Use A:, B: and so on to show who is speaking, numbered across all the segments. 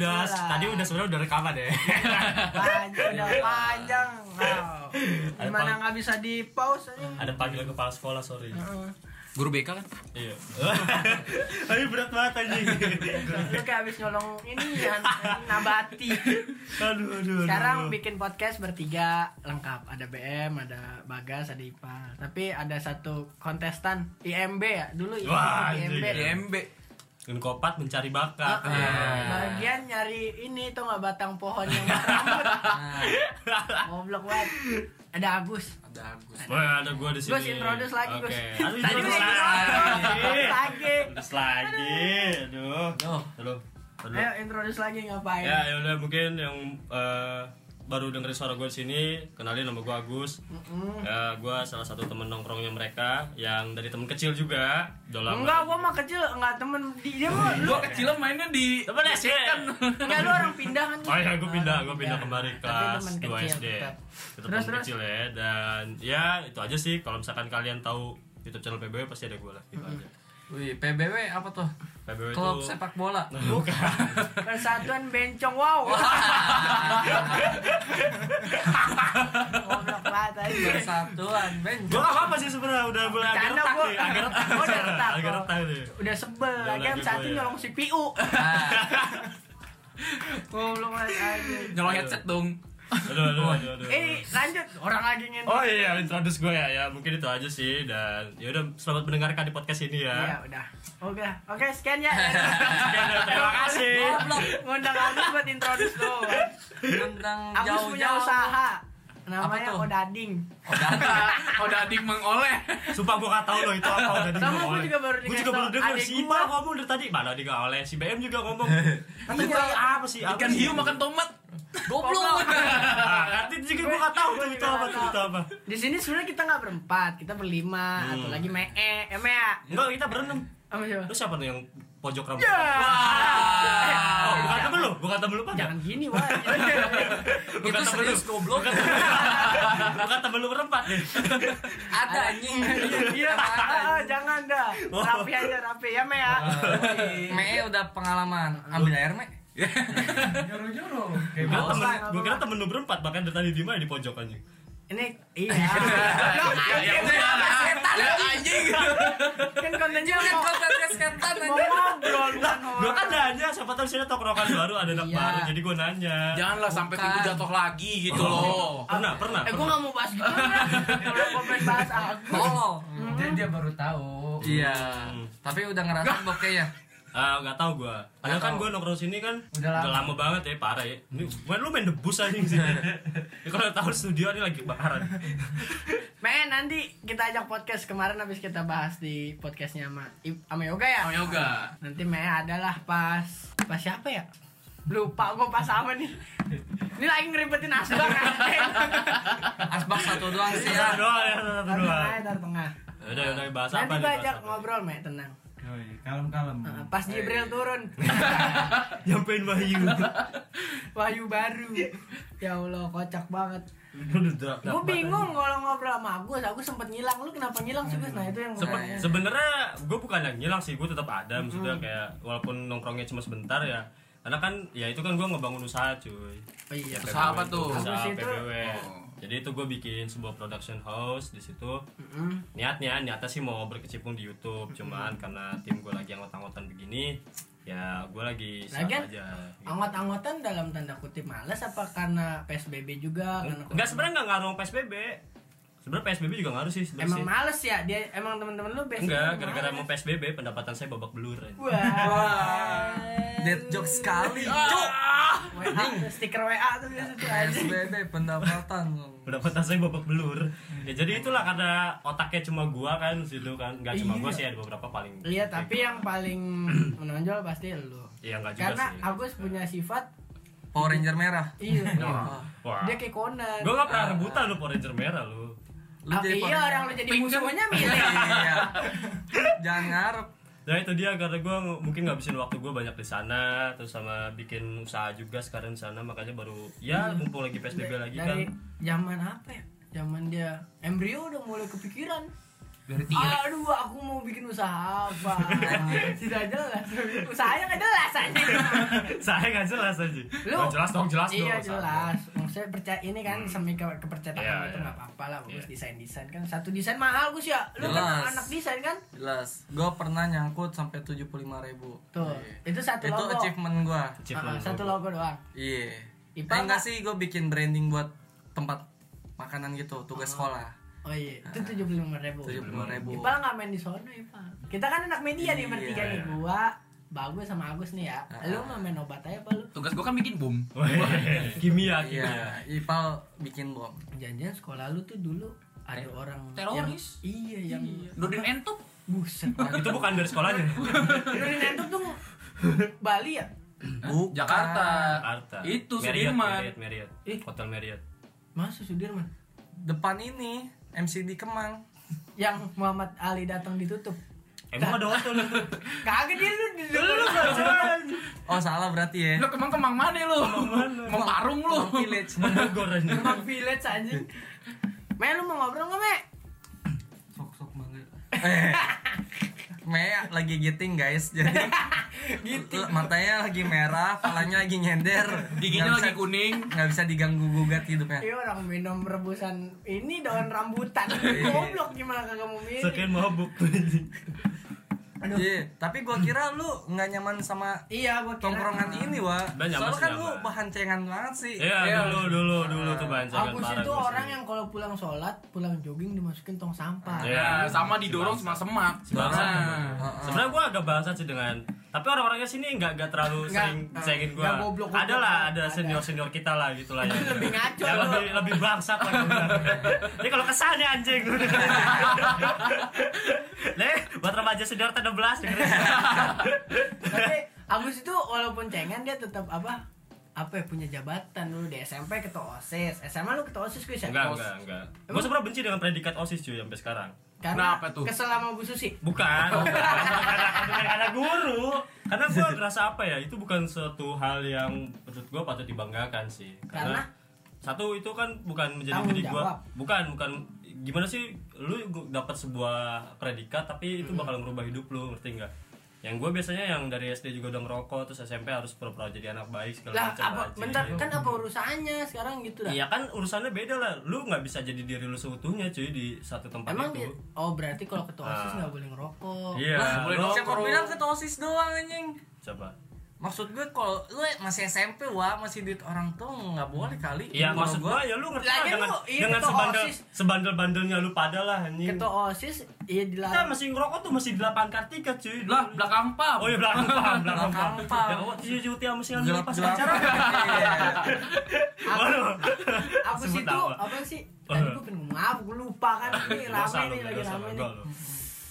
A: tadi udah sebenarnya udah rekaman ya.
B: panjang udah panjang wow.
A: Ada
B: gimana
A: pang-
B: nggak bisa di pause eh? aja
A: Ada panggilan kepala sekolah sorry.
C: Guru BK kan?
A: Iya. Tapi berat banget anjing.
B: lu kayak habis nyolong ini ya nabati
A: aduh, aduh.
B: sekarang bikin podcast bertiga lengkap ada BM ada Bagas ada Ipa tapi ada satu kontestan IMB ya dulu IMB,
A: Wah, anjing. ya.
C: IMB.
A: Ngekopat mencari
B: Ah,
A: bakat.
B: bagian nyari ini tuh nggak batang pohon yang
C: Nah,
B: goblok banget ada Agus
C: ada Agus.
A: Wah, ada gua di sini.
B: Gue introduce lagi Gus.
A: Oke. Aduh,
B: Tadi gue
A: introduce
B: introduce
A: lagi.
B: lagi.
A: Introduce lagi. Aduh.
C: Yo.
A: Aduh. Aduh.
B: Ayo introduce lagi ngapain?
A: Ya, ya udah mungkin yang eh, baru dengerin suara gue di sini, kenalin nama gue Agus. Ya, gue salah satu temen nongkrongnya mereka yang dari temen kecil juga. Udah lama.
B: Enggak, gua mah kecil enggak temen di- dia mah lu
C: Gua kecil mainnya di
A: Temen SD.
B: enggak lu orang pindah kan.
A: Oh iya, gue
B: Orang
A: pindah, gue pindah kembali
B: Tapi
A: kelas
B: temen
A: 2
B: kecil
A: SD.
B: tetap.
A: Tetap
B: Terus,
A: temen
B: terus.
A: kecil ya dan ya itu aja sih kalau misalkan kalian tahu YouTube channel PBW pasti ada gue lah gitu aja.
C: Wih, PBW apa tuh?
A: PBW itu
C: Klub sepak bola.
A: bukan.
B: Persatuan Bencong wow. Goblok banget aja.
C: Persatuan benjol.
A: Gue apa sih sebenarnya udah mulai agak
B: Bercanda,
A: retak
B: gua.
A: nih, agak retak,
B: Gua udah retak,
A: agak
B: gua.
A: retak nih.
B: Udah sebel
A: Udah
B: lagi yang
A: lanjut
B: satu
A: gua ya.
B: nyolong CPU.
C: Nah,
B: Goblok banget aja.
C: nyolong headset dong.
A: Aduh, aduh, aduh, aduh.
B: Eh, lanjut orang lagi ngin.
A: Oh iya, introduce gue ya, ya mungkin itu aja sih dan ya udah selamat mendengarkan di podcast ini
B: Ya
A: ya.
B: udah. Oke, oke sekian ya.
A: Sekian, dan terima kasih.
B: Goblok, ngundang Agus buat introduce lo.
C: Tentang
B: Agus punya
C: jauh-jauh.
B: usaha. Namanya
C: tuh?
B: Odading.
C: Udah adik mengoleh.
A: Sumpah gue gak tau loh itu apa udah
B: Sama Iya, gua
A: oleh.
B: juga baru
A: Gua
B: dikasih
A: juga baru
B: tau
A: denger
B: adik
A: si
B: gua.
A: Ipa ngomong dari tadi Mana dia oleh, si BM juga ngomong Tapi
B: Iya.
A: tadi apa sih? Apa
C: Ikan
A: sih?
C: hiu makan tomat. Goblok.
A: Ah, Nanti juga gue gak tau tuh itu apa tuh itu apa
B: Di sini sebenarnya kita nggak berempat, kita berlima atau lagi mee, eh mee ya.
A: Enggak, kita berenam
B: Apa siapa?
A: Lu siapa tuh yang pojok rambut?
B: Ya. eh,
C: Wah.
A: Oh, bukan temen lu? Bukan temen lu, Pak?
B: Jangan gini, Iya, wah.
A: Bukan
C: Itu
A: temen lu.
C: serius goblok.
A: Bukan temen lu berempat nih
C: Ada anjing.
B: Iya, Oh. ah, ah, jangan dah. Rapi aja, rapi ya, mee ya.
D: Me udah pengalaman ambil air me.
A: Gue kira
B: Nggak
A: temen,
B: usah, nggak
A: gua kira
B: apa-apa.
A: temen lu berempat Bahkan dari tadi di mana di pojok anjing
B: Ini iya. Lo, anjing,
D: Setan
C: Anjing.
B: Kan kontennya
D: kan
B: mau
D: kontennya setan
B: mau
D: aja.
B: ngobrol bukan
A: Gue kan
B: orang.
A: nanya, siapa tau di sini tokrokan baru ada anak
D: Iya.
A: baru Jadi gue nanya
C: Janganlah sampai pintu jatuh lagi gitu
D: Oh.
C: loh.
A: Pernah, pernah
B: Eh, gua nggak mau bahas gitu. kan. Kalau gua pengen bahas Agus.
D: Tolol. Jadi dia baru tahu.
C: Iya.
D: Tapi udah ya? ngerasain bokehnya.
A: Ah, nggak tahu gua. Padahal kan gua nongkrong sini kan udah lama, banget ya, parah ya. Ini main lu main debus aja sih. ya, kalau tahu studio ini lagi kebakaran.
B: Men, nanti kita ajak podcast kemarin habis kita bahas di podcastnya sama I- sama Yoga ya.
C: Sama yoga.
B: Nanti Me adalah pas pas siapa ya? Lupa gua pas sama nih. Ini lagi ngeribetin kan? asbak anjing.
D: Asbak satu doang sih
A: Satu
D: ya.
A: doang ya, satu
B: Taruh
A: doang. Ya
B: tengah, taruh tengah.
A: Udah, udah bahas apa
B: Iya. Nanti
A: nih?
B: gua
A: bahas
B: ajak
A: apa?
B: ngobrol, Me, tenang.
E: Yoi, kalem-kalem.
D: Ah,
B: Nah, Pas Jibril turun,
A: Nyampein Wahyu.
B: Wahyu baru. Ya Allah, kocak banget.
A: Udah drop.
B: Gue bingung kalau ngobrol sama Agus, aku sempet ngilang. Lu kenapa ngilang sih, Gus? Nah, itu yang
A: Sebe-
B: gue-
A: sebenarnya gue bukan yang ngilang sih gue tetap ada maksudnya kayak walaupun nongkrongnya cuma sebentar ya karena kan ya itu kan gue ngebangun usaha cuy
B: Oh iya.
A: Ya, PBW
C: Usaha apa
A: itu,
C: tuh? Oh.
A: usaha
B: Habis itu-
A: PBW jadi itu gue bikin sebuah production house di situ niatnya niatnya sih mau berkecimpung di YouTube cuman karena tim gue lagi anggot-anggotan begini ya gue lagi sabar
B: Lagian,
A: aja gitu.
B: Anggot-anggotan dalam tanda kutip males apa karena PSBB juga? Karena
A: Enggak sebenarnya nggak ngaruh PSBB sebenarnya PSBB juga ngaruh sih sebenarnya
B: Emang
A: sih.
B: males ya? Dia emang temen-temen lu biasanya
A: enggak
B: males.
A: gara-gara mau PSBB pendapatan saya babak belur ya. aja.
B: Wah.
D: Dead joke sekali. Cuk.
B: WA, stiker WA tuh biasa tuh anjing.
D: SBB pendapatan.
A: pendapatan saya babak belur ya jadi itulah karena otaknya cuma gua kan situ kan nggak cuma gua sih ada beberapa paling
B: Iya, tapi yang paling menonjol pasti lu.
A: Iya, nggak juga
B: Karena
A: sih.
B: Agus punya sifat
D: Power Ranger merah.
B: iya.
A: Wah. Wah.
B: Dia kayak Ah. Conan.
A: gua nggak pernah rebutan lu Power Ranger merah lu
B: Ah,
D: Lu jadi
B: iya
D: Power
B: orang lu jadi musuhnya milih.
D: Iya. Jangan ngarep.
A: nah itu dia karena gua ng- mungkin ngabisin waktu gua banyak di sana terus sama bikin usaha juga sekarang di sana makanya baru ya
B: Hmm.
A: mumpung lagi PSBB lagi kan
B: Dari zaman apa ya? Zaman dia embrio udah mulai kepikiran.
D: Dari tiga.
B: Aduh, aku mau bikin usaha apa? Tidak jelas. Usahanya nggak jelas aja.
A: saya nggak jelas aja
B: Lu-
A: Nggak jelas dong jelas
B: iya
A: dong
B: jelas. Maksudnya percaya ini kan semi ke kepercayaan
A: Iya,
B: itu
A: iya.
B: nggak apa-apa lah. Bagus
A: Iya.
B: desain desain kan. Satu desain mahal Gus ya. Lu kan
D: Jelas.
B: anak desain kan?
D: Jelas. Gue pernah nyangkut sampai 75.000 ribu.
B: Tuh, itu satu
D: Itu
B: logo.
D: achievement gue.
B: Ah,
A: Achievement
B: satu
A: logo.
B: logo doang.
D: Iya. Eh,
B: Ipa nggak?
D: enggak sih gue bikin branding buat tempat makanan gitu, tugas sekolah.
B: Oh iya, itu tujuh puluh lima ribu.
D: 75.000.
B: Ipal nggak main di sono Ipal. Kita kan anak media nih
D: Iya.
B: bertiga nih gua, bagus sama Agus nih ya. Lu mau main obat aja apa lu?
C: Tugas gue kan bikin bom.
A: Weh, kimia kimia
D: Iya, Ipal bikin bom.
B: Janjian sekolah lu tuh dulu ada orang
C: teroris.
B: yang- iya yang
C: Dodin Entop.
B: buset.
C: Iya.
A: itu bukan dari sekolahnya
B: Dudin entuk tuh Bali ya?
D: Bukan.
C: Jakarta.
A: Arta
C: Itu
A: Marriott,
C: Sudirman.
A: Marriott Marriott
B: Ih.
A: hotel Marriott
B: Masuk Sudirman.
D: Depan ini MCD Kemang.
B: Yang Muhammad Ali datang ditutup.
A: emang ada hotel itu
B: Kaget dia lu di dulu.
D: Oh salah berarti ya.
C: Lu kemang kemang mana lu? Kemang parung lu.
D: Kemang Village.
A: Bogor aja
B: Emang village anjing. Mel lu mau ngobrol nggak Me?
D: Sok sok banget. Eh, Mea lagi giting guys, jadi
B: Gitu.
D: giting. matanya lagi merah, palanya lagi nyender,
C: Giginya
D: Nggak
C: lagi
D: bisa-
C: kuning.
D: nggak bisa diganggu gugat hidupnya.
B: Iya orang minum rebusan ini daun rambutan. Goblok gimana kagak mau minum.
A: sekian mabuk
B: Aduh.
D: Iya, tapi gua kira lu nggak nyaman sama
B: Iya, gua kira.
D: tongkrongan ini wa.
A: Udah nyaman
D: Soalnya
A: sih,
D: kan lu
A: nyaman.
D: bahan cengan banget sih.
A: Iya dulu dulu dulu tuh bancakan
B: Agus itu orang yang kalau pulang sholat, pulang jogging dimasukin tong sampah.
A: Iya.
C: Ya, sama didorong Nah. sama semak.
A: Si
D: Ah.
A: bangsa.
D: Heeh.
A: Sebenarnya gue agak bahasa sih dengan tapi orang-orangnya sini nggak nggak terlalu
B: Nggak,
A: sering
B: eh,
A: sayangin gue.
B: nggak goblok-goblok.
A: Ada lah ada
B: Ada.
A: senior senior kita lah gitu lah yang
B: Lebih ngaco
A: yang
B: lu.
A: lebih lebih bangsat lah. gitu. Ini kalau kesannya anjing. Leh buat remaja senior 16 dengerin.
B: Tapi Agus itu walaupun cengen dia tetap apa? Apa ya punya jabatan dulu di SMP ketua OSIS. SMA lu ketua OSIS guys ya?
A: Enggak enggak enggak. Gue sebenarnya benci dengan predikat osis cuy sampai sekarang.
B: Karena
A: Nah,
C: Kenapa tuh?
B: kesel sama Bu Susi.
A: Bukan, bukan karena, bukan karena guru. Karena gue ngerasa apa ya, itu bukan suatu hal yang menurut gue patut dibanggakan sih. Karena, satu itu kan bukan menjadi
B: Tanggung
A: diri gue,
B: jawab.
A: bukan bukan gimana sih lu gu- dapat sebuah predikat tapi itu bakal merubah hidup lu, ngerti nggak? Yang gue biasanya yang dari SD juga udah ngerokok, terus SMP harus pura-pura jadi anak baik segala
B: Lah,
A: macam.
B: apa
A: aja.
B: bentar kan apa urusannya sekarang gitu lah.
A: Iya kan urusannya beda lah, lu nggak bisa jadi diri lu seutuhnya cuy di satu tempat
B: Emang
A: itu.
B: di- oh berarti kalau ketua OSIS
A: gitu. Ah.
B: nggak boleh ngerokok.
A: Iya,
D: Lah,
A: lu-
D: siapa bilang ketosis doang anjing?
A: coba.
D: Maksud gue kalau lu masih SMP wa masih duit orang tua nggak boleh kali.
A: Iya
D: Kalau
A: maksud
D: gua-
A: gua ya lu ngerti lah
B: Lagian
A: dengan,
B: lu, iya,
A: dengan
B: ketua
A: sebandel
B: OSIS.
A: sebandel bandelnya lu pada lah anjing.
B: Ketua OSIS iya
A: Kita
B: dilarang.
A: masih ngerokok tuh masih di lapangan Kartika cuy.
C: Lah, belakang pam.
A: Oh iya belakang paham, belakang paham.
D: Belakang paham.
A: Ya Allah, cuci cuci sama si Andi
D: gelap
A: pas
D: gelap.
A: acara. Waduh.
B: Aku
A: Sebut
B: situ
A: nama.
B: apa sih? Tadi gue pengen ngomong apa, gue lupa kan ini
A: Dosa
B: rame
A: lu,
B: nih lagi
A: dosa
B: rame
A: lu,
B: nih.
A: gua lu.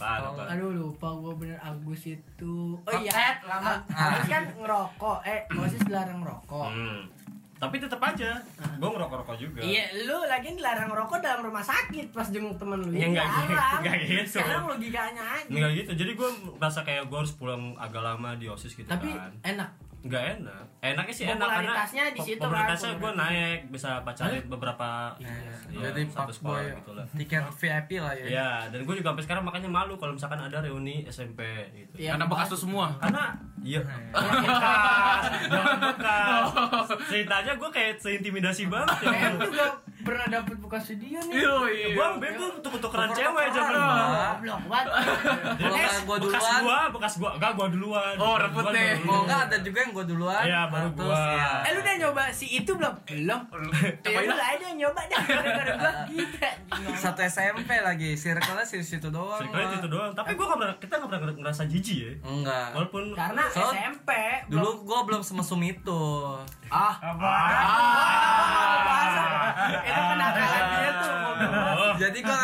A: Parah,
D: Oh.
A: parah.
B: Aduh lupa gue bener Agus itu. Oh iya,
D: Eh,
B: lama. Agus kan ngerokok, eh OSIS dilarang ngerokok.
A: Hmm. Tapi tetap aja, gua ngerokok-rokok juga.
B: Iya, lu lagi dilarang ngerokok dalam rumah sakit pas jenguk temen lu.
A: Ya, nggak gitu,
B: Dilarang.
A: nggak gitu.
B: Sekarang logikanya aja.
A: Enggak gitu, jadi gua merasa kayak gua harus pulang agak lama di OSIS gitu
B: Tapi
A: kan.
B: enak.
A: Nggak enak. Enaknya sih enak karena
B: Popularitasnya di situ kan,
A: popularitasnya gua
B: popularitas.
A: naik bisa pacarin beberapa iya,
D: Jadi ya.
A: satu
D: pak
A: sekolah
D: boy
A: gitu lah.
D: tiket VIP lah ya.
A: Iya, dan gue juga sampai sekarang makanya malu kalau misalkan ada reuni SMP gitu.
B: Iya,
C: Karena bekas lu semua.
A: Karena iya
D: Nah,
A: jangan bekas. Ceritanya gue kayak seintimidasi banget ya.
B: Em juga pernah dapet bekas dia nih.
A: Iya,
C: Yoi.
A: Gue ambil tuh tuker-tukeran cewek aja
D: Tuker-tukeran.
A: belum.
B: Goblok banget.
D: Nah, Kalau
A: Eh,
D: nggak gua
A: bekas
D: duluan.
A: gua, bekas gua, enggak gua duluan.
C: Oh,
A: Gua
C: rebut
A: duluan, gua
C: deh.
D: Kalau
A: duluan.
D: enggak ada juga yang gue duluan.
A: Iya, baru
D: Terus,
A: gua.
D: ya.
B: Eh lu udah nyoba si itu belum? Belum. Ya
C: Cobain
B: lu
C: lah.
B: aja yang nyoba dah gara-gara gua gitu.
D: Satu SMP lagi, circle-nya situ-situ doang.
A: Circle-nya
D: Wak.
A: itu doang. Tapi gua nggak pernah kita nggak pernah ngerasa jijik ya.
D: Enggak.
A: Walaupun
B: Karena
D: So,
B: SMP
D: Dulu gue belum semesum itu.
B: ah
A: apa? Ah.
B: itu kenakalan dia tuh.
A: Oh.
D: Jadi gue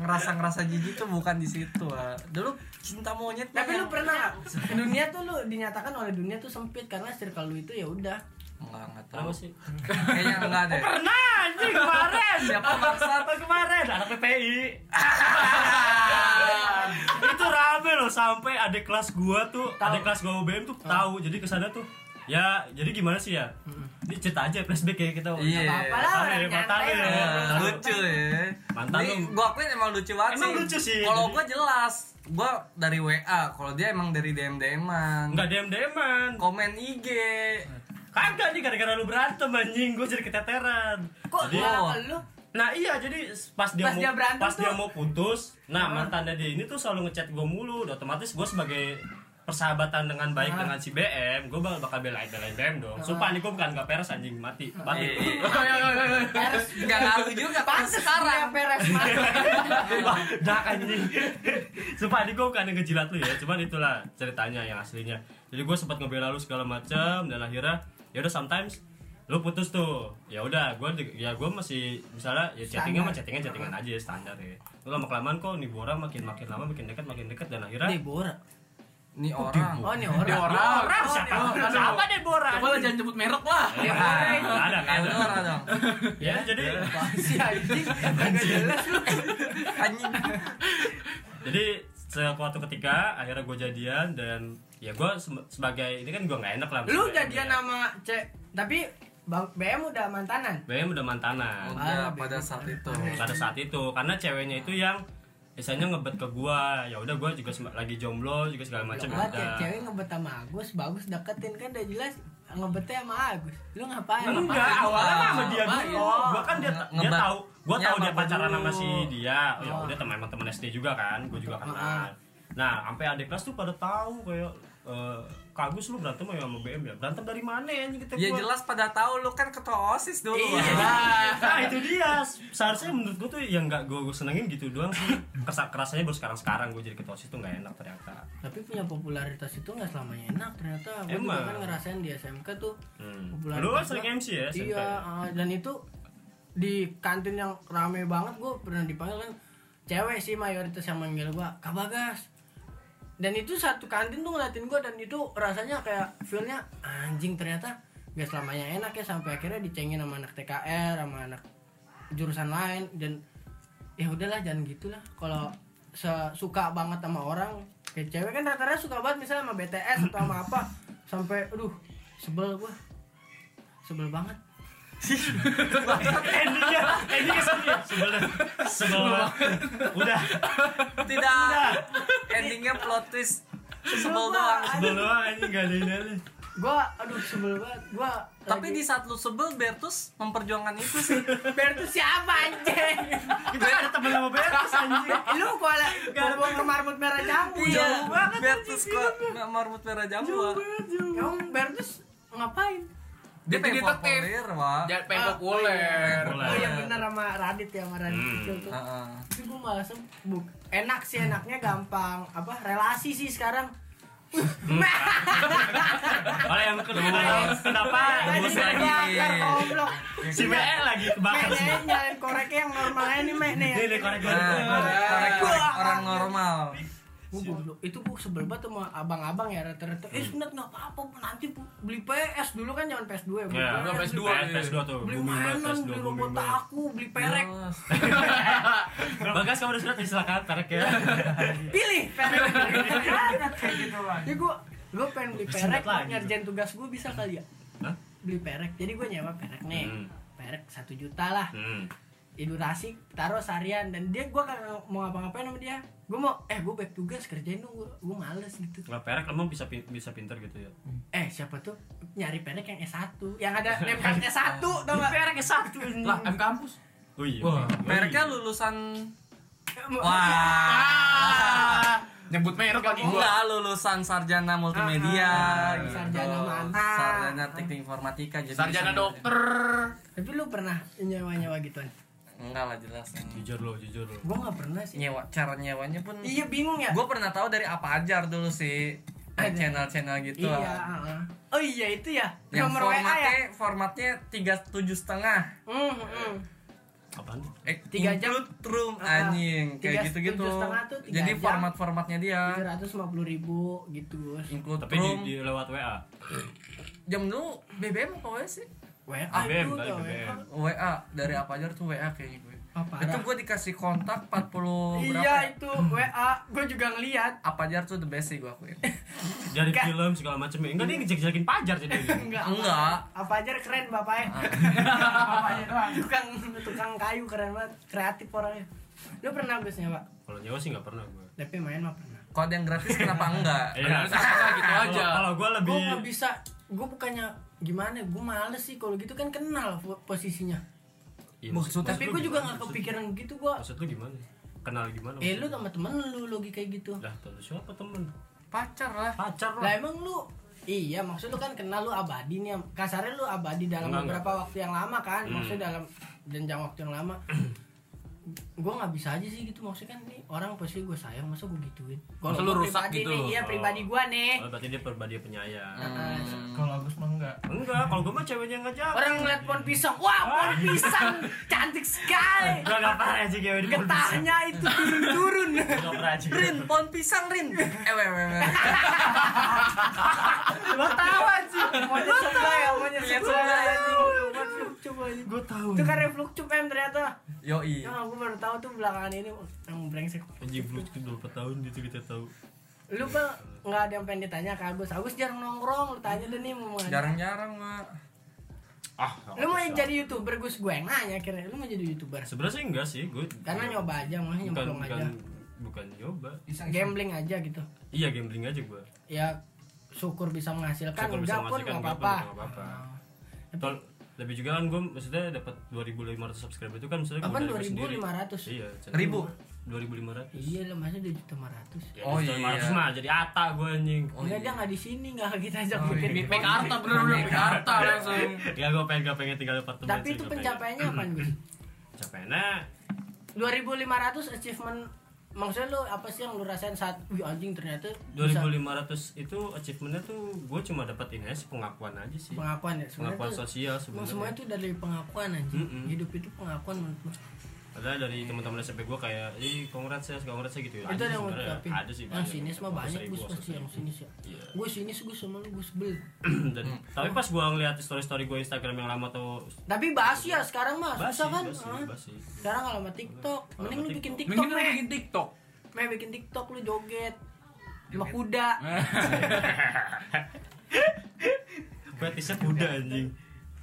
D: ngerasa-ngerasa jijik tuh bukan di situ. Wak. Dulu cinta monyet.
B: Tapi
D: Wak.
B: lu pernah nggak? dunia tuh lu dinyatakan oleh dunia tuh sempit karena circle lu itu ya udah.
D: Enggak, enggak tahu.
A: Kenapa sih?
D: Kayaknya enggak
B: Oh,
D: deh.
A: Pernah Nah, anjing kemarin. Siapa bangsat kemarin? Anak PPI. itu rame loh sampai ada kelas gua tuh, ada kelas gua UBM tuh tahu. Jadi kesana tuh ya jadi gimana sih ya ini cerita aja flashback ya kita
D: Iya.
B: apa-apa lah
A: Matahari,
B: orang nyantai
A: matahari.
B: lah.
D: Eh, lucu ya
A: Mantan
D: Ini
A: lu.
D: gua akuin emang lucu banget
A: Emang lucu sih.
D: kalau
A: Jadi-
D: gua jelas gua dari WA kalau dia emang dari DM DM-an
A: nggak dm dman
D: komen IG
A: kagak nih gara-gara lu berantem anjing gue jadi keteteran
B: kok
A: Jadi-
B: kenapa lu
A: Nah iya jadi pas dia
B: Pas
A: mau
B: dia berantem
A: pas dia
B: tuh.
A: mau putus, nah mantannya dia ini tuh selalu ngechat gue mulu, dan otomatis gue sebagai persahabatan dengan baik dengan si BM, gue bakal bakal belain belain BM dong. Sumpah nih gue bukan gak peres anjing mati, mati.
C: Iya,
B: harus
D: nggak ngaruh juga
B: pantas sekarang beres
A: Dak anjing. Sumpah nih gue bukan yang ngejilat lu ya, cuman itulah ceritanya yang aslinya. Jadi gue sempat ngebela lu segala macam dan akhirnya ya udah sometimes lu putus tuh ya udah gue ya gue masih misalnya ya chattingnya mah chattingan chattingan aja ya standar ya lu lama kelamaan kok nih borang makin makin lama makin dekat makin dekat dan akhirnya
B: Debora
D: nih orang
B: oh ini
C: Dia
B: orang
C: orang.
A: Orang, siapa siapa Deborah
C: Coba lah jangan nyebut merek lah.
A: Ya, nggak ada nggak
D: Eh,
A: ada
D: lu orang dong
A: ya jadi
B: si anjing agak jelas lu
D: anjing
A: jadi suatu ketika akhirnya gue jadian dan ya gue se- sebagai ini kan gue nggak enak lah ya.
B: lu
A: sebagai
B: jadian
A: BM.
B: nama C tapi Bang BM udah mantanan
A: BM udah mantanan
D: udah Iya, pada saat itu
A: pada saat itu karena ceweknya itu yang biasanya ngebet ke gua ya udah gua juga sem- lagi jomblo juga segala macam
B: Coba ya,
A: ada
B: cewek ngebet sama Agus, bagus deketin kan udah jelas ngebetnya sama Agus. Lu ngapain?
A: enggak
D: Ngapain?
A: awalnya mah sama dia
B: Ngapain?
A: dulu
B: Oh.
A: gua kan dia
D: Nge-
A: dia
D: ngebat-
A: tahu gua tahu
D: nyaman
A: dia pacaran
D: dulu.
A: sama si dia oh, ya
B: Oh.
A: udah teman emang teman SD juga kan gua juga
B: Betul.
A: kenal nah sampai adik kelas tuh pada tahu kayak eh, kagus lu berantem ya sama BM ya berantem dari mana ya anjing kita
D: ya
A: gua.
D: jelas pada tahu lu kan ketua osis dulu
B: Iya.
A: nah itu dia seharusnya menurut gue tuh yang nggak gue senengin gitu doang sih Kesa kerasanya baru sekarang sekarang gue jadi ketua osis tuh nggak enak ternyata
B: Tapi punya popularitas itu nggak selamanya enak ternyata. Gue juga
A: Emang.
B: kan ngerasain di SMK tuh.
A: Hmm.
B: popularitas
A: Lu
B: gua-
A: sering MC ya, SMK?
B: Iya, eh, dan itu di kantin yang rame banget gue pernah dipanggil kan cewek sih mayoritas yang manggil gua Kak Bagas dan itu satu kantin tuh ngeliatin gua dan itu rasanya kayak feelnya anjing ternyata gak selamanya enak ya sampai akhirnya dicengin sama anak TKR sama anak jurusan lain dan ya udahlah jangan gitulah kalau se- suka banget sama orang kayak cewek kan rata-rata suka banget misalnya sama BTS atau sama apa sampai aduh sebel gua sebel banget
A: endingnya endingnya sedih sebel sebel banget. udah
D: tidak endingnya plot twist sebel doang
A: sebel doang ini gak ada ini aja
B: gua aduh sebel banget gua
A: Iya.
D: tapi di saat lu sebel Bertus memperjuangkan itu sih
B: Ber tuh siapa anjing
A: kita gak kan ada temen sama Bertus anjing
B: lu kuala ngomong ke marmut merah jambu
D: Iya,
B: jauh banget
D: Bertus kok marmut merah jambu.
B: kamu Ber tuh ngapain
D: Dia
C: Dia
D: pengen
C: detektif.
D: populer, Wak.
C: Jangan pengen populer.
A: Populer.
B: oh yang bener sama Radit ya sama Radit
A: Hmm.
B: kecil tuh
D: Heeh.
B: tapi gua malah sembuk enak sih enaknya gampang apa relasi sih sekarang
A: kalau yang kedua kenapa
B: Tadi
D: bos lagi.
B: terbakar, goblok.
A: si BL lagi
B: Mek,
A: kebakar
B: nih, jalan koreknya yang normalnya nih Mek nih
A: ini ya. korek
D: Nah, korek-korek orang normal.
B: Gua goblok. itu gue sebel banget sama abang-abang ya rata-rata
A: Hmm.
B: eh sunat nggak apa-apa Bu. nanti Bu, beli PS dulu kan jangan PS2 ya Bu.
A: ya
C: Udah
B: PS,
C: PS2.
A: PS2 tuh
B: beli
A: booming banget
B: mainan
A: PS2
B: beli
A: booming
B: robot
A: banget
B: aku beli perek
A: Bagas kamu udah sudah silakan tarik ya
B: pilih perek
E: kayak gitu bang
B: jadi gue gue pengen beli
A: Sunat
B: perek
A: lagi.
B: ngerjain tugas gue bisa kali ya
A: Hah?
B: beli perek jadi gue nyewa perek nih
A: Hmm.
B: perek satu juta lah
A: Hmm.
B: durasi taruh seharian dan dia gue kagak mau ngapa-ngapain sama dia gue mau eh gue back tugas kerjain dong gue males gitu
A: Nggak perek emang bisa pin- bisa pinter gitu ya
B: Eh siapa tuh nyari pendek yang S1 Yang ada name cardnya satu tau gak? Merek S1
C: Lah, M kampus.
A: Oh iya
C: Wah,
D: Mereknya lulusan
B: Wah
D: Wah.
C: Nyebut merek lagi gua.
D: Enggak, lulusan sarjana multimedia.
B: Ah,
D: gitu.
B: sarjana mana?
D: Sarjana teknik informatika jadi
C: Sarjana
D: bisa-
C: dokter.
B: Tapi lu pernah nyewa-nyewa gitu? gituan?
D: Enggak lah jelas.
A: Jujur lo, jujur lo
B: Gue gak pernah sih
D: Nyewa cara nyewanya pun
B: Iya bingung ya?
D: gue pernah tahu dari apa ajar dulu sih Kayak
B: Ada.
D: channel-channel gitu
B: Iya
D: lah.
B: heeh. Oh iya itu ya?
D: yang
B: Nomor WA
D: formatnya
B: ya?
D: formatnya tiga tujuh setengah
B: Hmm, hmm.
A: Apaan?
D: Eh,
B: Tiga jam.
D: include room
B: Ah,
D: anjing
B: tiga
D: kayak gitu-gitu.
B: tujuh setengah tuh tiga
D: Jadi
B: jam.
D: format-formatnya dia
B: 750 ribu gitu
D: include
A: Tapi di,
D: room.
A: di lewat WA
D: Jam dulu BBM apa WA sih?
B: WA itu
A: BBM kali,
B: tuh
A: BBM.
B: WA
D: WA dari apa aja tuh WA kayaknya gue.
B: apa
D: itu gue dikasih kontak 40 berapa
B: iya
D: ya?
B: itu WA gue juga ngeliat
D: apa ajar tuh the best sih gue akuin
A: Dari
B: Enggak.
A: film segala macam. Enggak dia ngejek-jekin pajar jadi.
B: enggak
D: Enggak.
B: apa aja keren
A: Ah.
B: bapaknya
E: Bapaknya doang.
B: tukang tukang kayu keren banget kreatif orangnya lu pernah abisnya pak
A: Kalau nyawa sih enggak pernah gue.
B: tapi main mah pernah
D: kalau ada yang gratis kenapa enggak
A: Iya.
C: gitu aja.
A: Kalau- Kalau gue
B: gue
A: lebih
B: nggak bisa gue bukannya gimana gue males sih kalau gitu kan kenal po- posisinya
A: Iya,
D: Maksud-
B: tapi
A: lu
B: gue juga
A: gimana?
B: nggak
A: Maksud-
B: kepikiran gitu gue
A: Maksud lu gimana? Kenal gimana?
B: eh lu sama temen lu logika kayak gitu
A: Lah, tahu siapa temen?
D: pacar lah
A: Pacar
B: lah
A: lah.
B: emang lu iya maksud lu kan kenal lu abadi nih kasarnya lu abadi dalam
A: Enggak,
B: beberapa waktu yang lama kan
A: Hmm.
B: maksudnya dalam jenjang waktu yang lama gue nggak bisa aja sih gitu maksudnya kan nih orang pasti gue sayang masa gue gituin kalau
C: Masa lu
B: gua
C: rusak
B: pribadi
C: gitu?
B: nih, iya
A: Oh.
B: pribadi gue nih Nah,
A: Oh, berarti dia perbadi penyayang.
E: Kalau Agus mah enggak.
A: Enggak, kalau gue mah ceweknya ngajak.
B: orang ngeliat pohon pisang wah pohon pisang cantik sekali
A: Gue gak pernah sih cewek di pohon pisang.
B: getahnya itu turun-turun
A: Gak pernah sih.
D: Rin, pohon pisang Rin. Eh, weh, weh, weh.
B: lo tahu sih maunya sebelah ya maunya sebelah ya coba fluktup aja
A: Gue tahu.
B: itu karena fluktup em ternyata
D: Yoi.
A: Iya.
B: Ya, aku baru tahu tuh belakangan ini yang brengsek.
A: Anjing belum berapa tahun gitu kita tahu.
B: Lu Bang, nggak ada yang pengen ditanya ke Agus. Agus jarang nongkrong, lu tanya deh nih mau ngajak.
D: Jarang-jarang, Mak.
A: Ah,
B: Lu mau jadi youtuber Gus gue yang nanya kira lu mau jadi youtuber.
A: Sebenarnya sih enggak sih, gue
B: Karena nyoba aja, mau
A: Iya. bukan
B: nyemplung
A: bukan
B: aja.
A: bukan nyoba.
B: Gambling aja gitu.
A: Iya gambling aja gue.
B: Ya syukur bisa menghasilkan,
A: Syukur bisa
B: udah pun
A: menghasilkan,
B: nggak
A: nggak
B: apa-apa.
A: pun nggak apa-apa.
B: Ah.
A: Tol lebih juga kan gue maksudnya dapat 2500 subscriber itu kan maksudnya
B: Apaan
A: gue sendiri.
B: 2500?
A: Iya, cara-
D: Ribu?
A: 2500.
B: Iya lah masa dia juta maratus.
A: Ya,
D: Oh,
A: oh
D: iya.
A: iya. mah jadi ata gue anjing.
D: Oh,
B: Enggak
D: iya.
B: dia nggak di sini nggak kita ajak
D: Oh,
B: bikin.
D: iya.
C: Mekarta bener-bener Mekarta langsung.
A: Ya gue pengen gak pengen tinggal di apartemen.
B: Tapi
A: sih,
B: itu
A: nggak pengen.
B: pencapaiannya apa Gus?
A: Pencapaiannya
B: 2500 achievement maksudnya lu apa sih yang lu rasain saat wih anjing ternyata bisa
A: 2500 itu achievementnya tuh gue cuma dapat ini aja sih, pengakuan aja sih.
B: pengakuan ya sebenarnya
A: Pengakuan
B: tuh-
A: sosial
B: emang semuanya
A: sebenarnya.
B: itu dari pengakuan anjing
A: Mm-mm. Ya,
B: hidup itu pengakuan menurut gua
A: Ada dari teman-teman SMP gue kayak, "Ih, congrats ya, congrats ya," gitu.
B: itu
A: Ada
B: ada yang
A: sih
B: mau
A: sebenarnya,
B: tapi
A: Ada sih
B: yang sinis mah banyak
A: gue
B: gus pasti yang sinis ya
A: Iya.
B: gue sinis gue sama lu gue sebel
A: Dan, tapi pas gua ngeliat story story gua Instagram yang lama tuh
B: tapi basi ya sekarang mah
A: basi,
B: susah kan
A: basi,
B: ah.
A: basi.
B: sekarang kalau sama tiktok
A: Kalau
B: mending
A: sama
B: lu bikin
A: TikTok.
B: tiktok
C: Mungkin lu
B: meh
C: bikin TikTok.
B: meh bikin tiktok lu joget sama kuda
A: Fetisnya kuda anjing.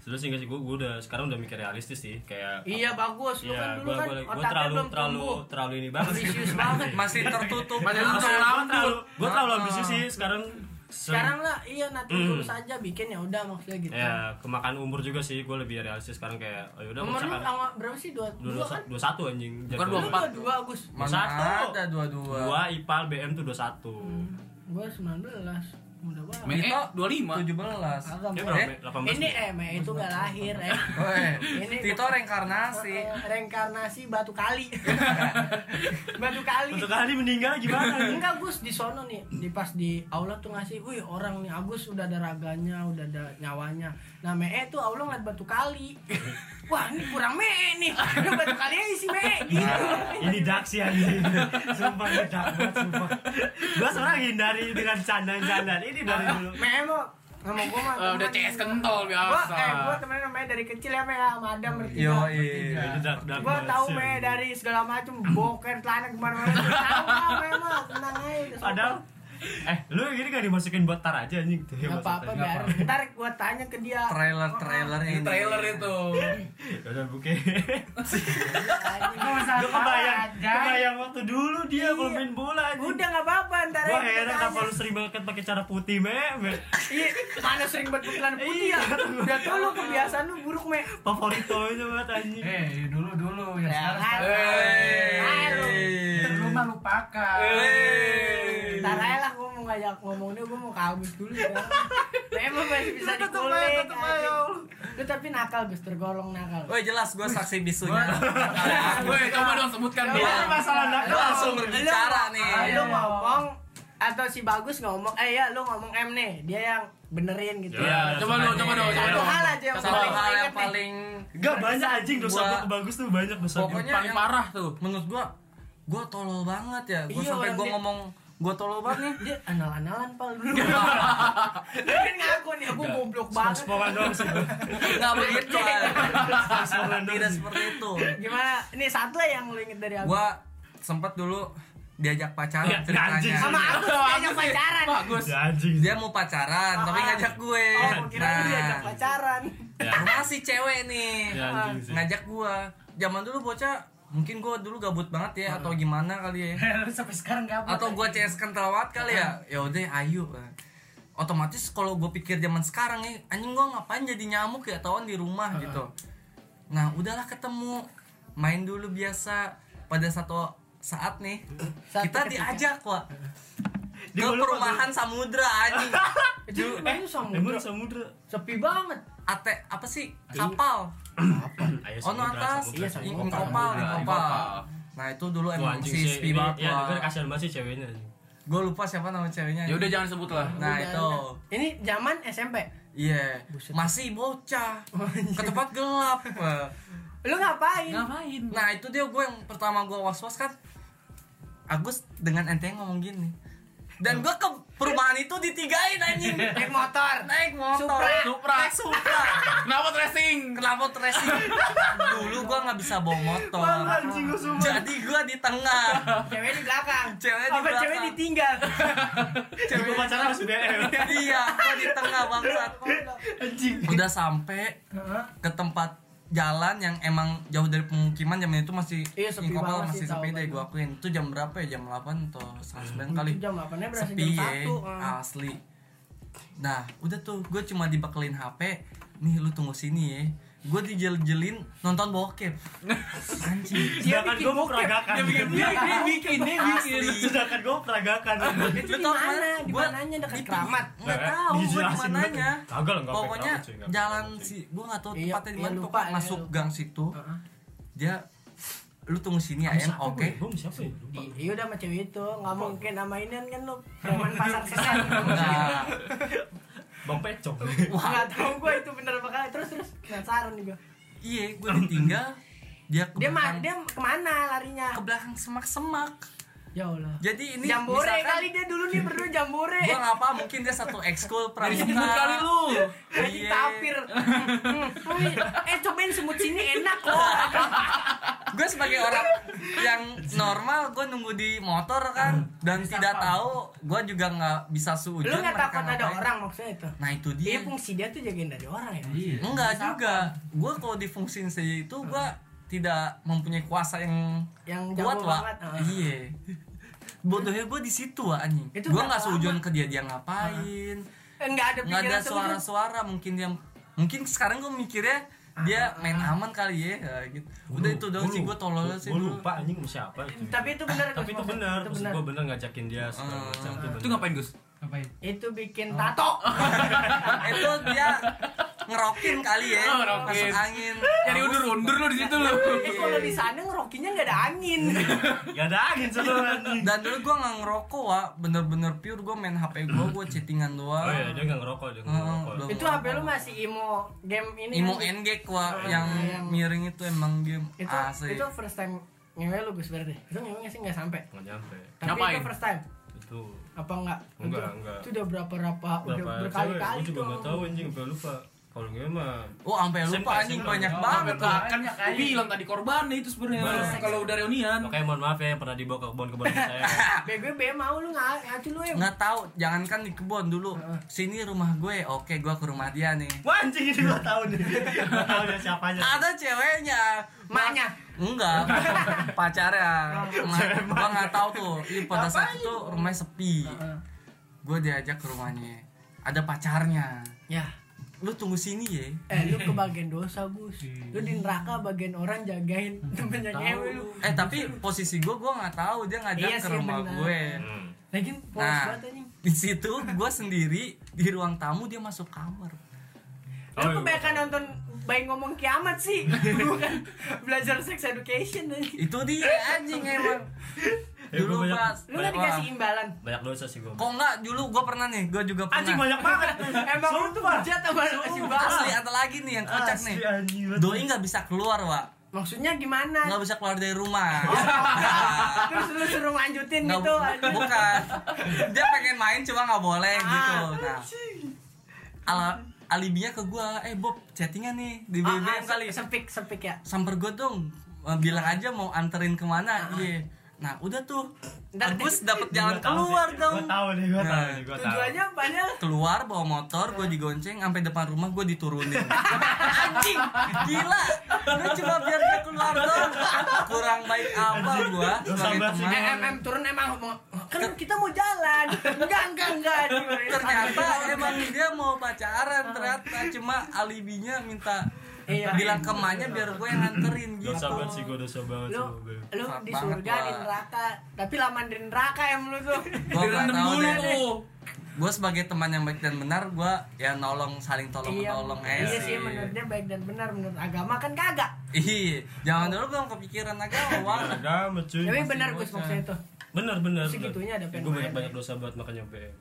A: Terus sih nggak sih gua, gua udah sekarang udah mikir realistis sih kayak
B: iya
A: apa-
B: bagus lu
A: Iya,
B: kan dulu
A: gua,
B: kan
A: gua, gua
B: otaknya
A: terlalu
B: belum
A: terlalu
B: tumbuh
A: terlalu ini banget.
B: ambisius banget
D: Masih tertutup.
C: Masih
A: Gua
C: tertutup.
A: terlalu- terlalu gua terlalu
D: Ah.
A: ambisius sih sekarang.
B: sekarang lah iya nanti
A: Mm.
B: lulus aja bikin ya udah maksudnya gitu
A: ya kemakan umur juga sih gua lebih realistis sekarang kayak oh yaudah
B: umur lu
A: misalkan
B: sama berapa sih dua dua
A: dua
B: kan
A: dua satu anjing. Jadwal.
B: dua
C: dua
B: dua
C: empat.
B: dua Agus
D: Mana
A: Satu.
D: ada dua-dua.
A: Gua IPAL BM tuh 21.
B: gua sembilan belas muda banget
C: Me-
D: Dito,
C: eh, 25.
D: 17.
B: Agak
A: Dia
B: muda.
A: berapa?
D: Eh,
A: 18.
B: ini eh Mei itu nggak lahir eh
D: Woi,
B: Ini
D: Tito reinkarnasi.
B: Eh, reinkarnasi batu kali batu kali
A: Untuk kali meninggal gimana? anjing?
B: enggak Gus di sono nih di pas di aula tuh ngasih wih orang nih Agus udah ada raganya udah ada nyawanya nah Mee tuh aula ngeliat batu kali wah ini kurang Mee nih Ini batu kalinya isi Mee gitu
A: Nah, ini dark sih anjing sumpah ini dark banget sumpah gua sebenarnya hindari dengan candaan-candaan ini dari dulu
B: Memo sama gua mah
C: Eh, udah
B: temen.
C: CS kentol
B: Gua
C: biasa.
B: eh gua temen namanya dari kecil ya Me ya sama Adam bertiga.
D: Yoi.
E: Iya.
A: ini dark dark
B: Gua
A: banget
B: tahu
A: sih.
B: Me dari segala macem boker celana kemana mana tahu gua Memo tenang aja udah sopan.
A: padahal eh lu gini gak dimasukin buat tar aja anjing gitu
B: Gak apa-apa biar ntar gua tanya ke dia.
D: Trailer-trailer
C: Ini
D: Nah, ini.
C: trailer itu.
A: udah buke
E: Gak usah
A: gua kebayang kebayang waktu dulu dia kalau
B: Iya.
A: main bola anjing
B: Udah gak apa-apa ntar aja
A: gua
B: gua
A: heran
B: tanya.
A: kenapa lu sering banget pakai cara putih me
B: Iya, mana sering buat putilan
A: Iya.
B: putih ya. Udah tuh lu kebiasaan lu buruk Me.
A: favorito aja banget anjing
E: Eh, dulu dulu ya
D: Iya,
E: sekarang.
D: kan?
B: Relax.
E: sekarang.
B: Hai, lu.
D: Hey.
E: Dulu mah lupakan.
D: Iya,
C: Eh.
B: Ntar aja lah gua mau ngajak ngomong dia gua mau kabus dulu ya. Memang masih bisa dikulik. anjing. Lu tapi nakal Gus, tergolong nakal.
D: Woi, jelas gua saksi bisunya.
C: Woi, coba dong sebutkan
B: Coba.
C: dia.
A: ini masalah
D: Lu
A: nakal
D: langsung berbicara nih.
E: Ah,
B: lu
E: iya.
B: ngomong atau si bagus ngomong eh ya lu ngomong M nih dia yang benerin gitu
A: Ya,
B: ya,
C: Ya, coba lu, coba dong,
B: satu
C: coba
A: Iya,
C: dong.
B: hal aja yang
C: Satu
D: Satu
B: paling
D: hal yang
B: inget nih.
D: paling
A: Gak banyak anjing dosa
D: Gua-
A: gua bagus tuh banyak dosa gua.
D: Pokoknya
C: Paling
D: yang-
C: parah tuh.
D: menurut gua gua tolol banget ya gua
B: Iya,
D: sampai
B: orang
D: gua
B: dia-
D: ngomong Gue tolol banget nih.
B: dia anal-analan pal dulu dia kan ngaku nih aku goblok banget
A: Sponsor doang sih.
D: Enggak begitu.
B: Iya,
D: Al.
A: Sponsor
D: Tidak
A: doang.
D: seperti itu.
B: gimana ini satu lah yang lu inget dari aku
D: Gua sempat dulu diajak
A: Ya,
D: pacaran
A: anjing.
B: sama
D: ceritanya.
B: aku sih
C: Bagus
B: ajak
C: sih.
B: pacaran
C: Bagus.
A: Ya, anjing.
D: Dia mau pacaran tapi
B: Ah.
D: ngajak gue.
B: oh gua kira
D: Nah.
B: dia diajak pacaran
A: Ya,
D: Rumah si cewek nih.
A: ya, anjing sih.
D: ngajak gua zaman dulu bocah mungkin gua dulu gabut banget ya atau gimana kali ya
E: Eh, Lu sampai sekarang gabut.
D: atau gua CS kental banget kali ya ya udah ayo otomatis kalau gua pikir zaman sekarang nih anjing gua ngapain jadi nyamuk ya tahun di rumah gitu nah udahlah ketemu main dulu biasa pada satu saat nih
B: Satu ketika.
D: kita diajak wa
A: Di
D: ke
A: mana, Pak?
D: perumahan samudra anjing
B: itu eh,
A: Emang
B: samudra
A: samudra.
B: sepi banget
D: ate apa sih kapal
A: Ayo
D: ono atas
A: samudra.
B: Iya,
D: ingin
B: Ingkopal,
D: kopal
C: Ingkopal.
D: nah itu dulu
A: Wah,
D: emang
A: anjing
D: si
A: sih.
D: sepi
A: Ini,
D: banget
A: ya,
D: Wak.
A: kan kasihan banget sih ceweknya.
D: gue lupa siapa nama ceweknya
C: Ya udah jangan sebut lah.
D: nah
B: Udah,
D: itu
B: udah. ini zaman SMP
D: iya
B: Buset.
D: masih bocah ke tempat gelap
B: lu ngapain
C: Ngapain?
D: nah itu dia gue yang pertama gue was was kan Agus dengan enteng ngomong gini dan gue ke perumahan itu ditigain anjing
B: naik motor
D: naik motor
B: Supra.
C: Supra.
D: naik supra
C: Kenapa tracing?
D: kenapa tracing dulu gue nggak bisa bawa motor jadi gue di tengah
B: cewek di belakang
D: Cewek di
B: apa
D: belakang.
B: cewek ditinggal
A: Gue pacaran harus DM.
D: iya gue di tengah bangsat udah sampai ke tempat jalan yang emang jauh dari pemukiman zaman itu masih
B: Iya, sepi
D: Ingkopal
B: banget sih,
D: masih
B: tahu
D: sepi deh
B: banget.
D: gue akuin itu jam berapa ya jam 8 atau setengah 9 kali
B: Hmm, jam 8 nya berasa
D: sepi
B: jam
D: ya
B: satu eh.
D: asli nah udah tuh gue cuma dibekelin HP nih lu tunggu sini ya gue dijel-jelin nonton bokep anjing
A: Sedangkan gue mau peragakan.
C: Dia dia bikin, dia bikin.
A: Sedangkan gue peragakan.
B: itu di mana di
D: Gua-
B: mananya dekat
D: di-
B: keramat
D: nggak tahu gue di
A: Nah, Dijelasin banget.
D: mananya
A: Kagak lah, nggak sampai
D: pokoknya
A: keramat sih, nggak sampai
D: jalan
A: keramat
D: si
A: sih.
D: gue nggak tahu
B: Iya,
D: tepatnya di
B: iya,
D: mana
B: lupa,
D: pokoknya
B: iya,
D: masuk
B: lupa.
D: gang situ
B: Heeh.
D: dia lu tunggu sini ayam
A: Siapa
D: oke
A: gue? Gue siapa ya? Lupa.
B: I- Iya udah sama cewek itu, nggak mungkin sama inian kan lu preman pasar sesat
D: Nah,
A: Bang Pecok.
B: Nggak tahu gue itu bener apa kagak. Terus terus penasaran nih gue
D: iya gue ditinggal dia ke
B: Dia ma
D: belakang,
B: dia kemana larinya?
D: ke belakang semak-semak
B: Ya Allah
D: jadi ini
B: Jambore
D: misalkan-
B: kali dia dulu nih berdua jambore
D: gue nggak paham mungkin dia satu ekskul
C: Jadi
D: pramuka
C: sebut kali lu.
B: Lagi
D: Iya.
B: tapir Hmm, hmm. Oh Eh cobain semut sini enak loh
D: gue sebagai orang yang normal gue nunggu di motor kan dan tidak tahu gue juga nggak bisa
B: Lu
D: seujung
B: nggak
D: mereka
B: takut ada
D: ngapain.
B: orang maksudnya itu?
D: nah itu dia
B: Iya fungsi dia tuh jagain dari orang ya
E: Iya.
D: enggak juga gue kalau di fungsi saya itu gue tidak mempunyai kuasa yang
B: Yang
D: kuat
B: jago
D: lah
B: banget ah.
D: iya bodohnya gue di situ Wak, anjing
B: Itu
D: gue
B: berapa
D: nggak seujung
B: lama?
D: ke dia dia ngapain
B: Eh, Nggak ada
D: nggak ada
B: pikiran seujung.
D: suara-suara mungkin dia mungkin sekarang gue mikirnya
B: Ah.
D: dia main aman kali ya nah, gitu. udah itu doang sih gue tolol sih
A: Gue
D: dulu.
A: lupa anjing sama siapa itu.
B: Tapi itu bener
A: Tapi itu benar,
B: Itu
A: maksud
B: bener
A: gue benar ngajakin dia
D: Ah.
A: segala macam itu
C: Itu
A: bener.
C: ngapain Gus?
E: Ngapain?
B: Itu bikin tato
D: Ah, itu dia ngerokin kali ya
C: Oh, ngerokin.
D: masuk angin
C: Jadi undur-undur lu di situ lu.
B: Eh kalau di sana ngerokinya nggak ada angin.
A: Gak Ya ada angin
D: Iya,
A: seluruh anjing.
D: dan dulu gue nggak ngerokok wa bener-bener pure gue main hp gue gue chattingan doang
A: Oh iya, dia nggak ngerokok, dia nggak
D: Hmm,
A: ngerokok.
D: belum.
B: itu HP lu masih imo game ini.
D: Imo
B: kan?
D: NG wa yang miring itu emang game
B: iya, Itu
D: asli
B: itu first time ngewe lu Gus berarti. Itu ngewe nggak sih nggak sampai.
A: Nggak nyampe.
B: Tapi
C: Ngapain?
B: itu first time.
A: Itu
B: Apa enggak?
A: Enggak,
B: itu,
A: enggak.
B: Itu udah berapa berapa udah
A: berapa cewek?
B: berkali-kali
A: Gue juga
B: dong.
A: nggak tahu anjing, gue lupa. Kalau gue mah
D: oh sampai lupa
A: Simple,
D: anjing
A: simple.
D: banyak
A: Oh,
D: banget
E: sampai
D: tuh
E: lupa.
C: Kan aku bilang tadi korbannya itu sebenarnya. Kalau udah reunian.
A: Makanya mohon maaf ya yang pernah dibawa ke kebun kebun saya.
B: Nah, Bego be mau lu nggak ngacu lu em.
D: nggak tahu jangankan di kebun dulu sini rumah gue oke gue ke rumah dia nih
A: Wah anjing ini gue tahu nih. Gue tahu dia siapanya.
D: ada ceweknya
B: Maknya.
D: enggak pacarnya Nah, gua nggak tahu tuh Ih, pada saat itu rumahnya sepi gue diajak ke rumahnya ada pacarnya
B: Ya.
D: lu tunggu sini ya
B: Eh lu ke bagian dosa Gus. Lu di neraka bagian orang jagain
A: Hmm,
B: temennya ngewe lu.
D: eh tapi posisi gue gue nggak tahu dia ngajak
B: Iya
D: ke
B: sih,
D: rumah
B: benar.
D: gue
A: Hmm.
B: Lagi polos
D: Nah.
B: banget anjing.
D: di situ gue sendiri di ruang tamu dia masuk kamar
A: Oh, iya.
B: Lu kebanyakan nonton bayi ngomong kiamat sih Bukan belajar sex education aja
D: itu dia anjing emang
A: Eh, gua
D: dulu
A: banyak-
D: pas
B: Lu gak
D: Wah.
B: dikasih imbalan
A: Banyak dosa sih gue.
D: kok nggak dulu gue pernah nih gue juga pernah
A: Anjing banyak banget.
B: Emang lu tuh
A: Sumpah.
B: hujat sama lu kasih imbalan
D: asli ada lagi nih yang kocak nih
A: Asli, Ah, anjing.
D: doi nggak bisa keluar wa
B: maksudnya gimana
D: nggak bisa keluar dari rumah
A: Oh,
B: terus lu suruh lanjutin
D: Nggak-
B: gitu anjing. Ah,
D: bukan dia pengen main cuma nggak boleh gitu nah ala alibinya ke gua eh Bob chattingan nih di
B: Ah,
D: BBM
B: ah,
D: kali
B: se- sepik sepik ya
D: samper gue dong Eh, bilang aja mau
A: Ah,
D: anterin kemana iya nah udah tuh
B: Ntar-
D: Agus dapat
A: Gua
D: jalan
A: tahu
D: keluar
A: sih.
D: dong
A: Gua tahu nih, gua tahu
D: Nah,
A: nih, gua tahu.
B: tujuannya padahal
D: keluar bawa motor gue digonceng sampai depan rumah gue diturunin anjing gila lu cuma biar dia keluar dong kurang baik apa gue
A: Lu
D: sebagai
A: sabar sih.
B: Eh, em,
D: teman
B: em, turun emang mau- kan kita mau jalan enggak enggak enggak
D: ternyata emang dia mau pacaran ternyata cuma alibinya minta
B: Iya.
D: bilang ke emaknya biar gue yang nganterin gitu
A: dosa banget sih gua dosa banget
B: lu
A: sama gue
B: lu
D: Fuck
B: di
D: banget
B: surga di
D: gua.
B: neraka tapi lama di neraka em lu tuh
D: Gua nggak
C: direndam
D: tahu
C: dulu
D: deh.
C: tuh
D: gue sebagai teman yang baik dan benar gue ya nolong saling tolong menolong
B: iya
D: eh
B: sih menurut dia baik dan benar menurut agama kan kagak
D: Ih, jangan Iya. dulu belum kepikiran agama Wak.
A: agama Nah, cuy
B: tapi benar gus
D: bocah.
B: maksudnya itu
A: bener bener
B: Segitunya ada
A: gue
B: pengen
A: banyak
B: main.
A: banyak dosa banget makanya BM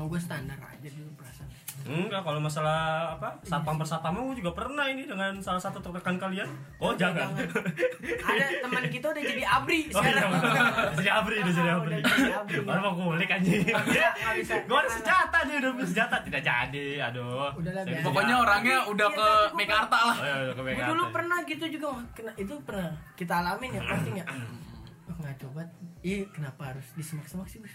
B: oh gue standar aja dulu perasaan
A: enggak kalau masalah apa
B: Iya.
A: satpam persatpam gue juga pernah ini dengan salah satu tertekan kalian oh jangan
B: ada teman kita udah jadi abri
A: Oh iya,
B: sekarang
A: bener. jadi abri, udah jadi
B: Ah,
A: abri.
B: udah jadi abri.
A: Baru mau kulik anjing.
B: Nggak, nggak bisa.
A: Gue ada senjata nih, udah punya senjata tidak jadi. Aduh.
B: Udah lah,
A: Saya
B: biar.
A: bisa
C: pokoknya
A: jalan.
C: orangnya udah ke Mekarta lah
A: Oh iya, udah ke
B: Gua
A: BKT.
B: dulu pernah gitu juga wah, kena itu pernah kita alamin ya pasti nggak oh, nggak coba iya kenapa harus disemak-semak sih Gus?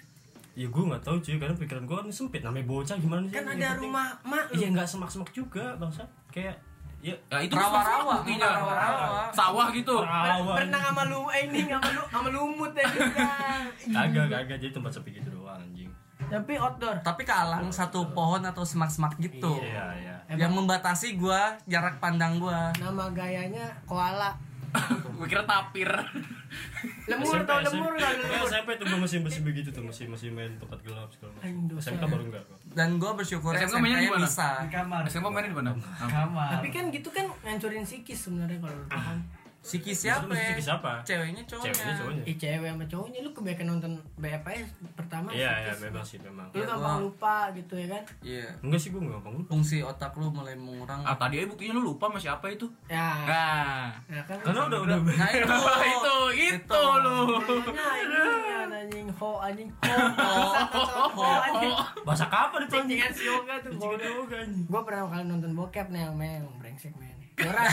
A: Ya gue gak tau cuy, karena pikiran gue sempit Namanya bocah gimana sih
B: kan
A: Iya, yang
B: ada
A: penting-
B: rumah mak
A: Iya
B: lu
A: gak semak-semak juga bangsa Kayak Ya
C: ya itu
D: Rawa-rawa,
C: buktinya
D: rawa-rawa.
C: sawah gitu
A: rawan.
B: pernah sama lu eh, ini sama lu sama lumut ya juga.
A: Kagak, kagak, jadi tempat sepi gitu doang anjing
B: tapi outdoor
D: Tapi kalang satu pohon atau semak-semak
B: Oh.
D: gitu.
A: Iya, iya
D: Yang membatasi gua jarak pandang gua.
B: nama gayanya koala
C: gue kira tapir
B: lemur
A: SMP,
B: tau lemur
A: SMP.
B: nggak
A: Iya,
B: lemur
A: SMP tuh gue masih masih begitu tuh, masih masih main tempat gelap segala
B: Anjing,
A: macam.
B: dosa.
A: SMK baru enggak kok.
D: Dan gua bersyukur
C: SMK
D: SMP
C: mainnya di mana?
D: bisa.
E: di kamar
C: SMA mainnya di mana
E: kamar
B: tapi kan gitu kan ngancurin psikis sebenarnya kalau lu kan.
A: Ah.
B: paham
D: Siki
A: Siapa?
D: siapa? ya?
A: Siapa? Siapa?
D: Ceweknya cowoknya.
A: Ceweknya cowoknya.
B: Ih cewek sama cowoknya lu kebanyakan nonton BFS pertama
A: Iya, iya,
B: psikis.
A: memang sih memang.
B: lu
D: Iya,
B: gampang
D: gua-
B: lupa gitu ya kan
D: Iya.
A: Enggak sih gue enggak gampang lupa.
D: Fungsi otak lu mulai mengurang.
C: ah tadi aja buktinya lu lupa masih apa itu
B: ya
A: Ah.
C: nah
B: nah kan
A: Karena udah udah
D: Nah, itu.
C: Wah, itu itu lu
B: Nanya anjing, anjing ho anjing ho ho anjing
A: bahasa kapan itu anjing?
B: Anjingan si Yoga tuh
A: Anjing ada yoga anjing.
B: Gue pernah kali nonton bokep nih yang memang brengsek men Dora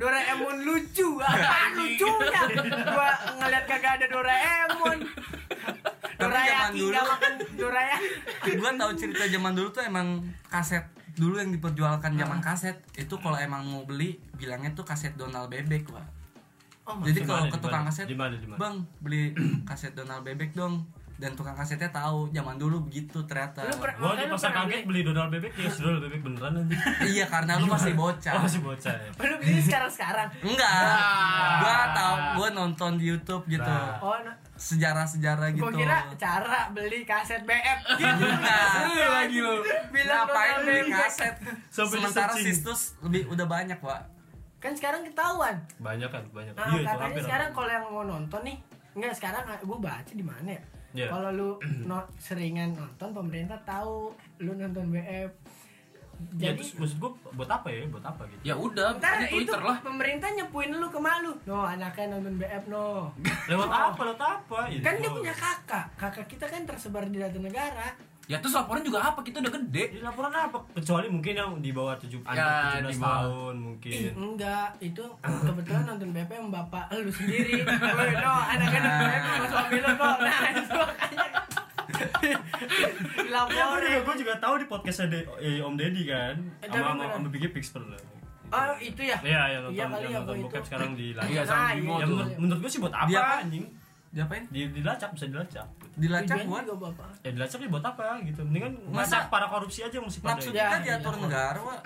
B: Doraemon lucu Apaan lucunya Gue ngeliat kagak ada Doraemon
D: zaman
B: Dorayaki
D: dulu-
B: gak makan Ya. Dorayaki
D: gua tahu cerita zaman dulu tuh emang kaset dulu yang diperjualkan zaman kaset itu kalau emang mau beli bilangnya tuh kaset Donald Bebek Wak.
B: Oh,
D: Jadi
A: maksudnya
D: kalau
A: mana?
D: ke
A: Di
D: tukang
A: mana?
D: kaset,
A: Di mana? Di mana?
D: bang beli kaset Donald Bebek dong. Dan tukang kasetnya tahu zaman dulu begitu ternyata.
B: Lu per-
A: Gua
B: makanya
A: di
B: lu
A: pasar
B: pernah
A: kaget beli Donald bebek ya, Donald bebek beneran anjing.
D: iya karena lu masih bocah.
A: Oh, masih bocah. ya.
B: beli- Lu beli sekarang-sekarang
D: Enggak. Gua tahu, gua nonton di YouTube gitu.
A: Nah.
B: Oh no.
D: Sejarah-sejarah gitu.
B: Gue kira cara beli kaset BF gitu
D: Nah,
C: lagi lu
B: Bilang
D: ngapain
B: Donald
D: beli
B: Bebek.
D: kaset?
A: Iya, Sampai
D: Sementara
A: di-searching.
D: Sistus lebih udah banyak, Pak.
B: Kan sekarang ketahuan
A: Banyak kan, banyak.
B: Nah,
A: Iya, itu
B: katanya
A: hampir.
B: sekarang kalau yang mau nonton nih, enggak sekarang gue baca di mana ya?
A: Iya.
B: Kalau lu no- seringan nonton pemerintah tahu lu nonton BF.
A: Ya
B: Jadi
A: terus maksud gua buat apa ya? Buat apa gitu?
C: ya udah
B: ntar Nah,
C: di
B: itu
C: Twitter lah
B: pemerintah nyepuin lu ke malu. No, anaknya nonton BF no.
A: Lewat apa? Lewat apa? Ya,
B: kan dia
A: gitu.
B: punya kakak. Kakak kita kan tersebar di data negara.
C: ya terus laporan juga apa kita udah gede
A: Di laporan apa? Kecuali mungkin yang di bawah 7
C: Ya,
A: anak 17
C: di bawah.
A: tahun mungkin.
B: Ih, enggak, itu ah, kebetulan nonton BF yang bapak lu sendiri. Woi, no, anaknya nonton BF sama suami lu kok. Nah, itu makanya.
A: Ya, gue juga,
B: Dilaporin.
A: gue juga tahu di podcastnya De, eh, Om Deddy kan,
B: Eh, tapi
A: sama sama
B: beneran.
A: sama Biggie Pix pernah.
B: Oh itu ya?
A: Iya, yang nonton,
B: Iya kali
A: yang
B: ya,
A: nonton
B: gua
A: bokep
B: itu.
A: sekarang di
C: Iya,
A: lacak.
C: sama
B: Nah,
C: Bimo
B: iya,
A: Ya,
C: tuh.
B: iya.
A: menurut, menurut gue sih buat apa
D: Dia apa?
A: anjing?
D: Diapain?
A: Di, dilacak bisa dilacak.
D: Dilacak
B: Tujuan
D: gua.
B: Iya, juga bapak.
A: Ya dilacak ya buat apa gitu? Mendingan
D: Masa-
A: masa para korupsi aja mesti pada.
D: Nafsu
B: Ya,
D: kita
B: iya.
D: diatur negara, Wak.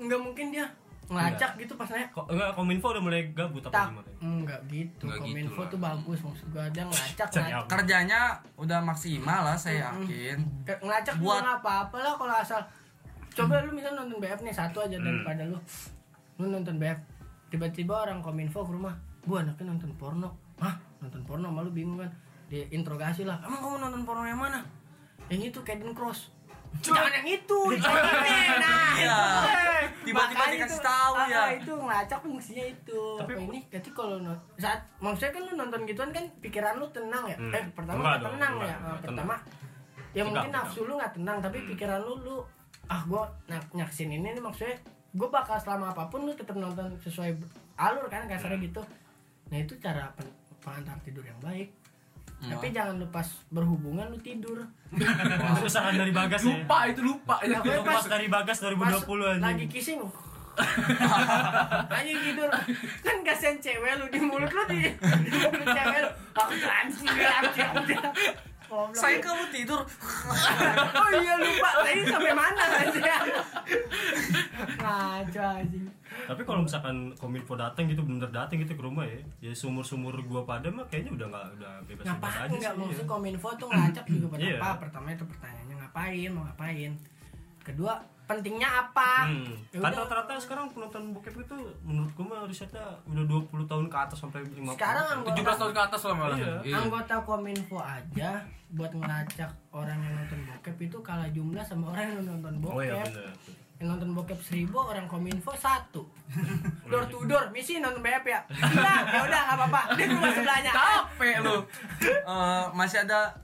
B: Enggak mungkin dia ngelacak gitu pas nanya
A: Kok enggak kominfo udah mulai gabut apa
B: tak
A: gimana?
B: enggak gitu
C: Enggak
B: kominfo
C: gitu
B: tuh bagus maksud gua dia ngelacak
A: Cari
B: ngelacak,
A: apa?
D: Kerjanya udah maksimal lah saya yakin.
B: Ke- ngelacak
D: Buat-
B: bukan apa-apa lah kalau asal coba lu misal nonton BF nih satu aja daripada lu lu nonton BF tiba-tiba orang kominfo ke rumah bu anaknya nonton porno hah nonton porno malu bingung kan diinterogasi lah emang kamu nonton porno yang mana yang itu Caden Cross Jangan yang itu, jangan yang ini. Nah,
D: Iya.
B: itu, eh.
D: tiba-tiba
B: Makanya
D: dikasih
B: itu-
D: tahu
B: ah,
D: ya
B: ah, itu ngacak fungsinya itu
A: Tapi-
B: tapi ini jadi kalau no- saat maksudnya kan lu nonton gituan kan pikiran lu tenang ya
A: Hmm.
B: eh pertama
A: Enggak
B: nggak
A: dong,
B: tenang
A: enggak,
B: ya Ah,
A: enggak tenang. Hmm.
B: pertama ya
A: Enggak,
B: mungkin
A: enggak.
B: nafsu lu nggak tenang tapi pikiran lu lu ah gua nak nyaksin ini nih maksudnya gua bakal selama apapun lu tetap nonton sesuai alur kan kasarnya
A: Hmm.
B: gitu nah itu cara pen- pengantar tidur yang baik
A: Hmm.
B: tapi jangan lu pas berhubungan lu tidur
A: Usaha dari Bagas ya.
C: lupa itu lupa Iya, itu
B: Nah, gue
A: Lepas dari Bagas
B: Pas
A: 2020 aja.
B: lagi kissing anjing tidur kan kasihan cewek lu di mulut lu di, di mulut cewek lu aku transfer Goblok.
D: saya kamu tidur
B: oh iya lupa tadi sampai mana anjing ngaco anjing
A: Tapi kalau misalkan kominfo datang gitu bener datang gitu ke rumah ya, ya sumur-sumur gua pada mah kayaknya udah nggak udah bebas-bebas
B: ngapain
A: aja
B: nggak
A: sih.
B: maksud kominfo tuh ngacak juga buat
A: Iya.
B: apa pertama itu pertanyaannya ngapain mau ngapain kedua pentingnya apa
A: Hmm.
B: Ya
A: Kan
B: udah.
A: rata-rata sekarang penonton bokep itu menurut gua mah risetnya udah 20 tahun ke atas sampai 50.
B: sekarang
C: tujuh
B: anggota
C: belas tahun ke atas lah malah
A: Iya.
C: Iya.
B: anggota kominfo aja buat ngelacak orang yang nonton bokep itu kalah jumlah sama orang yang nonton bokep
A: Oh iya bener.
B: yang nonton bokep seribu orang kominfo satu door to door misi nonton BF ya iya ya udah nggak apa-apa dia di rumah sebelahnya
C: capek lu
D: Eh, masih ada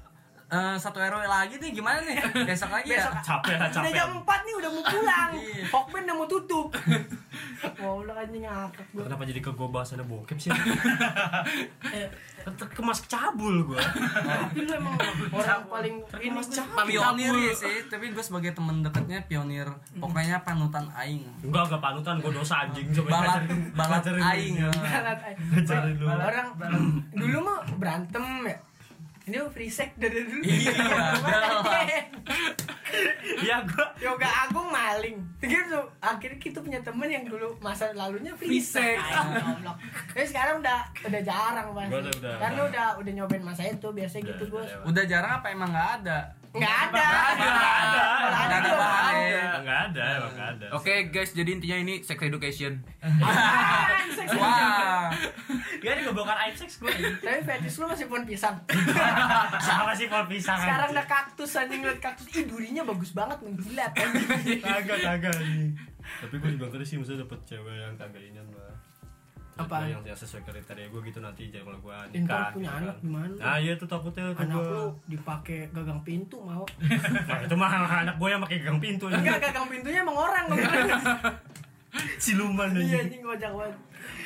D: eh, satu RW lagi nih gimana nih besok lagi ya
B: besok
A: Capek lah
B: udah
A: capek.
B: jam 4 nih udah mau pulang
D: Iya.
B: Hokben udah mau tutup wow lu anjing ngakak gue
A: Kenapa jadi ke gua bahasannya bokep sih? Ter- Kemas cabul gua.
B: tapi lu emang orang paling ini
A: Terkemas
B: Gus.
A: cabul.
D: pionir ya sih tapi gue sebagai temen deketnya pionir pokoknya panutan aing
A: Enggak, enggak panutan gua dosa anjing coba
D: balat
A: ngajarin-
D: balat
A: ngajarin gua.
D: aing
B: Balat aja.
A: Cari dulu.
B: orang dulu mah berantem ya ini mah free sex dari dulu
D: Iya, udah.
A: Iya, gua
B: Yoga Agung maling gitu akhirnya kita punya temen yang dulu masa lalunya free
C: Free
B: sex
C: sex.
B: Ay, goblok. tapi sekarang udah udah jarang pasti
A: Udah, udah,
B: karena
A: udah.
B: udah udah nyobain masa itu biasanya
A: Udah,
B: gitu
A: udah
B: gue
A: lewat.
D: udah jarang apa emang nggak ada
B: nggak ada
A: Nggak ada.
D: nggak ada
B: Nggak
D: bahan
B: ada.
D: ya.
A: Enggak ada, emang enggak ada.
C: oke guys jadi intinya ini sex education
B: Apaan, seks?
D: wah
A: Gak ada ngebongkar aib seks gue
B: tapi fetish lu masih pohon pisang
A: Sama sih pohon pisang
B: sekarang udah kaktus Nah, anjing liat kaktus ih durinya bagus banget menggilat anjing.
A: Kagak, kagak nih Tapi gue juga ngeri sih Maksudnya dapet cewek yang kagak inian lah
B: Apa?
A: Yang, yang sesuai kriteria gue gitu nanti jadi kalau gue
B: Eh, ntar
A: nikah
B: punya
A: gitu
B: anak
A: kan.
B: gimana?
A: Nah iya tuh takutnya tuh
B: anak
A: gua.
B: lu dipakai gagang pintu mau
A: Nah itu mah anak gue yang pakai gang pintu ini.
B: enggak gagang pintunya emang orang
A: Siluman
B: iya
A: aja
B: anjing kocak banget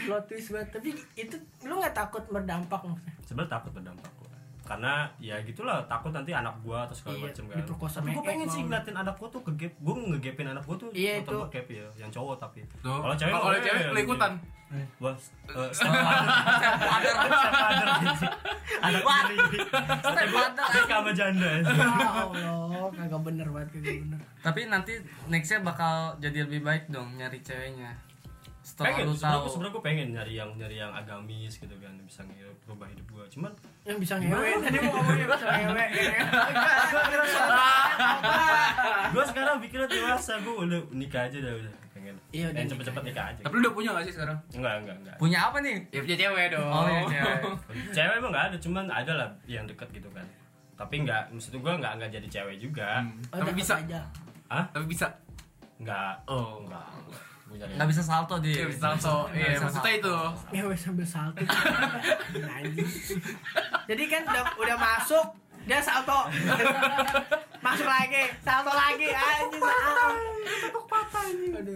B: plot twist banget tapi itu lu nggak takut berdampak maksudnya
A: Sebenernya takut berdampak gue karena ya gitulah takut nanti anak gua atau segala macam kan
B: Iya, diperkosa
A: tapi gue
B: mewek
A: pengen sih
B: mau.
A: ngeliatin anak gua tuh kegep gue ngegepin anak gua tuh
B: Iya,
A: nonton
B: itu.
A: bokep ya yang cowok tapi
C: Tuh.
A: kalau cewek
C: Kalau
A: nggak,
C: cewek,
A: eh,
C: lu ikutan.
A: iya. wah eh, step father step father anak sendiri
D: Step mother.
A: nikah sama janda
B: ya Allah kagak bener banget kagak bener
D: tapi nanti nextnya bakal jadi lebih baik dong nyari ceweknya setelah
A: pengen
D: lu
A: sebenarnya gua-
D: tahu
A: sebenarnya gue pengen nyari yang nyari yang agamis gitu kan yang bisa nge- berubah hidup gua cuman
B: yang bisa ngewe tadi mau ngomongnya bisa ngewe ya. Gua kira soal-
A: gua sekarang pikirnya dewasa gua udah nikah aja dah udah pengen
B: Iya, udah
A: pengen
B: nikah
A: cepet-cepet
B: aja.
A: nikah aja
C: tapi lu udah punya gak sih sekarang
A: enggak enggak enggak
D: punya apa nih
C: ya punya cewek dong
D: oh iya cewek
A: cewek emang nggak ada cuman ada lah yang deket gitu kan tapi nggak maksud gua nggak nggak jadi cewek juga
C: Hmm.
B: Oh,
C: tapi
B: tetep
C: bisa
B: aja.
C: tapi bisa
A: nggak
C: oh
A: nggak Gua nyari
D: nggak bisa salto dia
C: Iya, bisa langsung. Iya, maksudnya itu.
B: ngewe sambil salto Anjing. jadi kan udah udah masuk dia salto masuk lagi salto lagi anjing patah ketuk patah ini aduh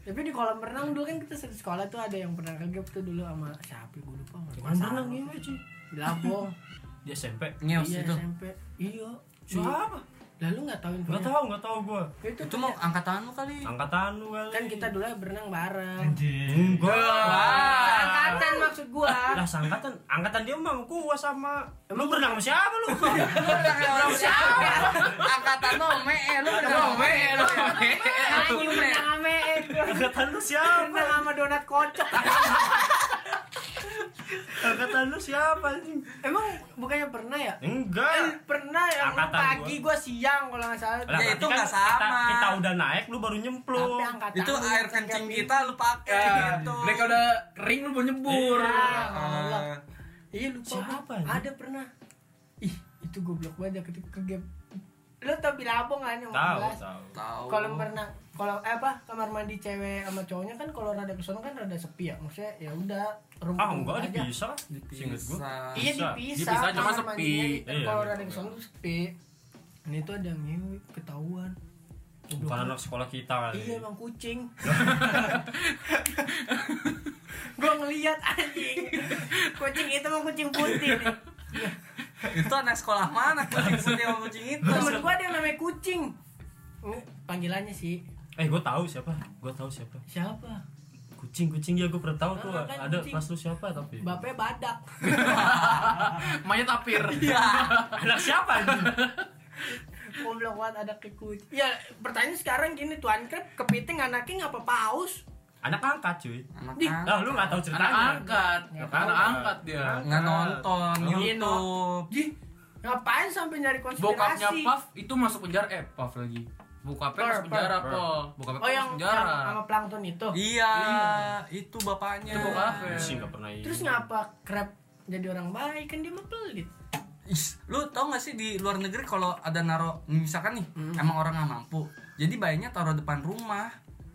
B: tapi di kolam renang dulu kan kita sering sekolah tuh ada yang pernah kegep tuh dulu sama siapa gue lupa
A: Kolam renang iya. ngewe,
B: cuy di Lampung
A: ya, di SMP
D: ngeos
B: iya
D: itu
B: SMP iya
A: Siapa?
B: lalu nggak tahu infonya
A: nggak tahu nggak tahu gua
B: itu
D: itu
B: tuh
D: mau angkatan lu kali
A: angkatan lu kali
B: kan kita dulu berenang bareng
E: Anjing.
A: enggak
B: angkatan maksud gua
A: lah angkatan angkatan dia mah sama gua sama lu berenang sama siapa lu
D: orang siapa angkatan lu me eh, lu bener
C: Rome, Rome.
B: anjing berenang ame
A: angkatan lu siapa
B: berenang sama donat kocok
A: angkatan lu siapa anjing
B: Emang bukannya pernah ya? Eh,
A: enggak
B: pernah ya, lu
A: Angkatan
B: pagi gua siang kalau nggak salah.
A: Lah,
D: Ya,
A: berarti kan
D: itu nggak
A: kita-
D: sama.
A: kita, udah naik lu baru nyemplung
B: Tapi angkatan
D: itu
B: lu
D: air
B: kagak
D: kencing gitu.
B: pinter.
D: kita lu pakai
C: Ya,
D: gitu
C: mereka udah kering lu mau nyebur.
B: Iya, Allah.
D: Eh,
B: Iya lupa.
A: Siapa
B: gua.
A: ini?
B: Ada pernah. Ih, itu goblok banget ya ketika ke game lu tau bilabong kan yang
A: tahu
B: 14?
A: tahu
D: tahu
B: Kolam renang, kalau eh apa kamar mandi cewek sama cowoknya kan kalau rada kesana kan rada sepi ya. Maksudnya ya udah rumput
A: ah enggak
B: aja.
A: dipisah singkat gua
D: Dipisah.
B: Iya
A: Bisa.
B: dipisah.
C: Dipisah, cuma
B: kamar
C: sepi.
B: mandinya di-
A: Iya,
B: Kalau
A: iya,
B: rada
A: iya.
B: kesana tuh sepi. Ini tuh ada yang ngewe ketahuan.
A: bukan anak sekolah kita kali
B: Iya emang kucing. gua ngeliat anjing. Kucing itu emang kucing putih. nih.
D: itu anak sekolah mana kucing putih sama kucing itu
B: Temen gua ada yang namanya kucing. Nge- Panggilannya sih
A: eh gua tahu siapa gua tahu siapa
B: siapa?
A: kucing kucing ya gua pernah tahu tuh
B: Ah, kan
A: ada
B: kucing.
A: kelas lu siapa tapi
B: Bapaknya badak.
C: Mayat tapir.
A: anak siapa anjing?
B: Goblok banget ada kayak kucing. Ya pertanyaan sekarang gini tuan kan kepiting anaknya ngapa paus?
A: anak angkat cuy
D: anak
B: Di-
D: angkat.
A: ah lu nggak tahu
C: Anak
A: ceritanya
C: angkat.
B: Nggak
C: Anak
A: tahu.
C: angkat dia.
D: nggak nonton
A: Nggak
D: YouTube
C: Ih,
B: Ngapain sampai nyari konspirasi?
C: bokapnya Puff itu masuk penjara eh Puff lagi. Bokapnya
B: Per,
C: masuk penjara,
A: per.
C: Pol. Bokapnya
B: Oh yang,
C: masuk
B: yang
C: penjara.
B: sama plankton itu.
D: iya
C: Iya.
D: itu bapaknya
C: Itu bokapnya.
A: kucing nggak pernah ini.
B: Terus ngapa crab jadi orang baik kan dia mah pelit.
D: Is, lu tau gak sih di luar negeri kalau ada naro misalkan nih
B: Hmm.
D: emang orang nggak mampu jadi bayinya taruh depan rumah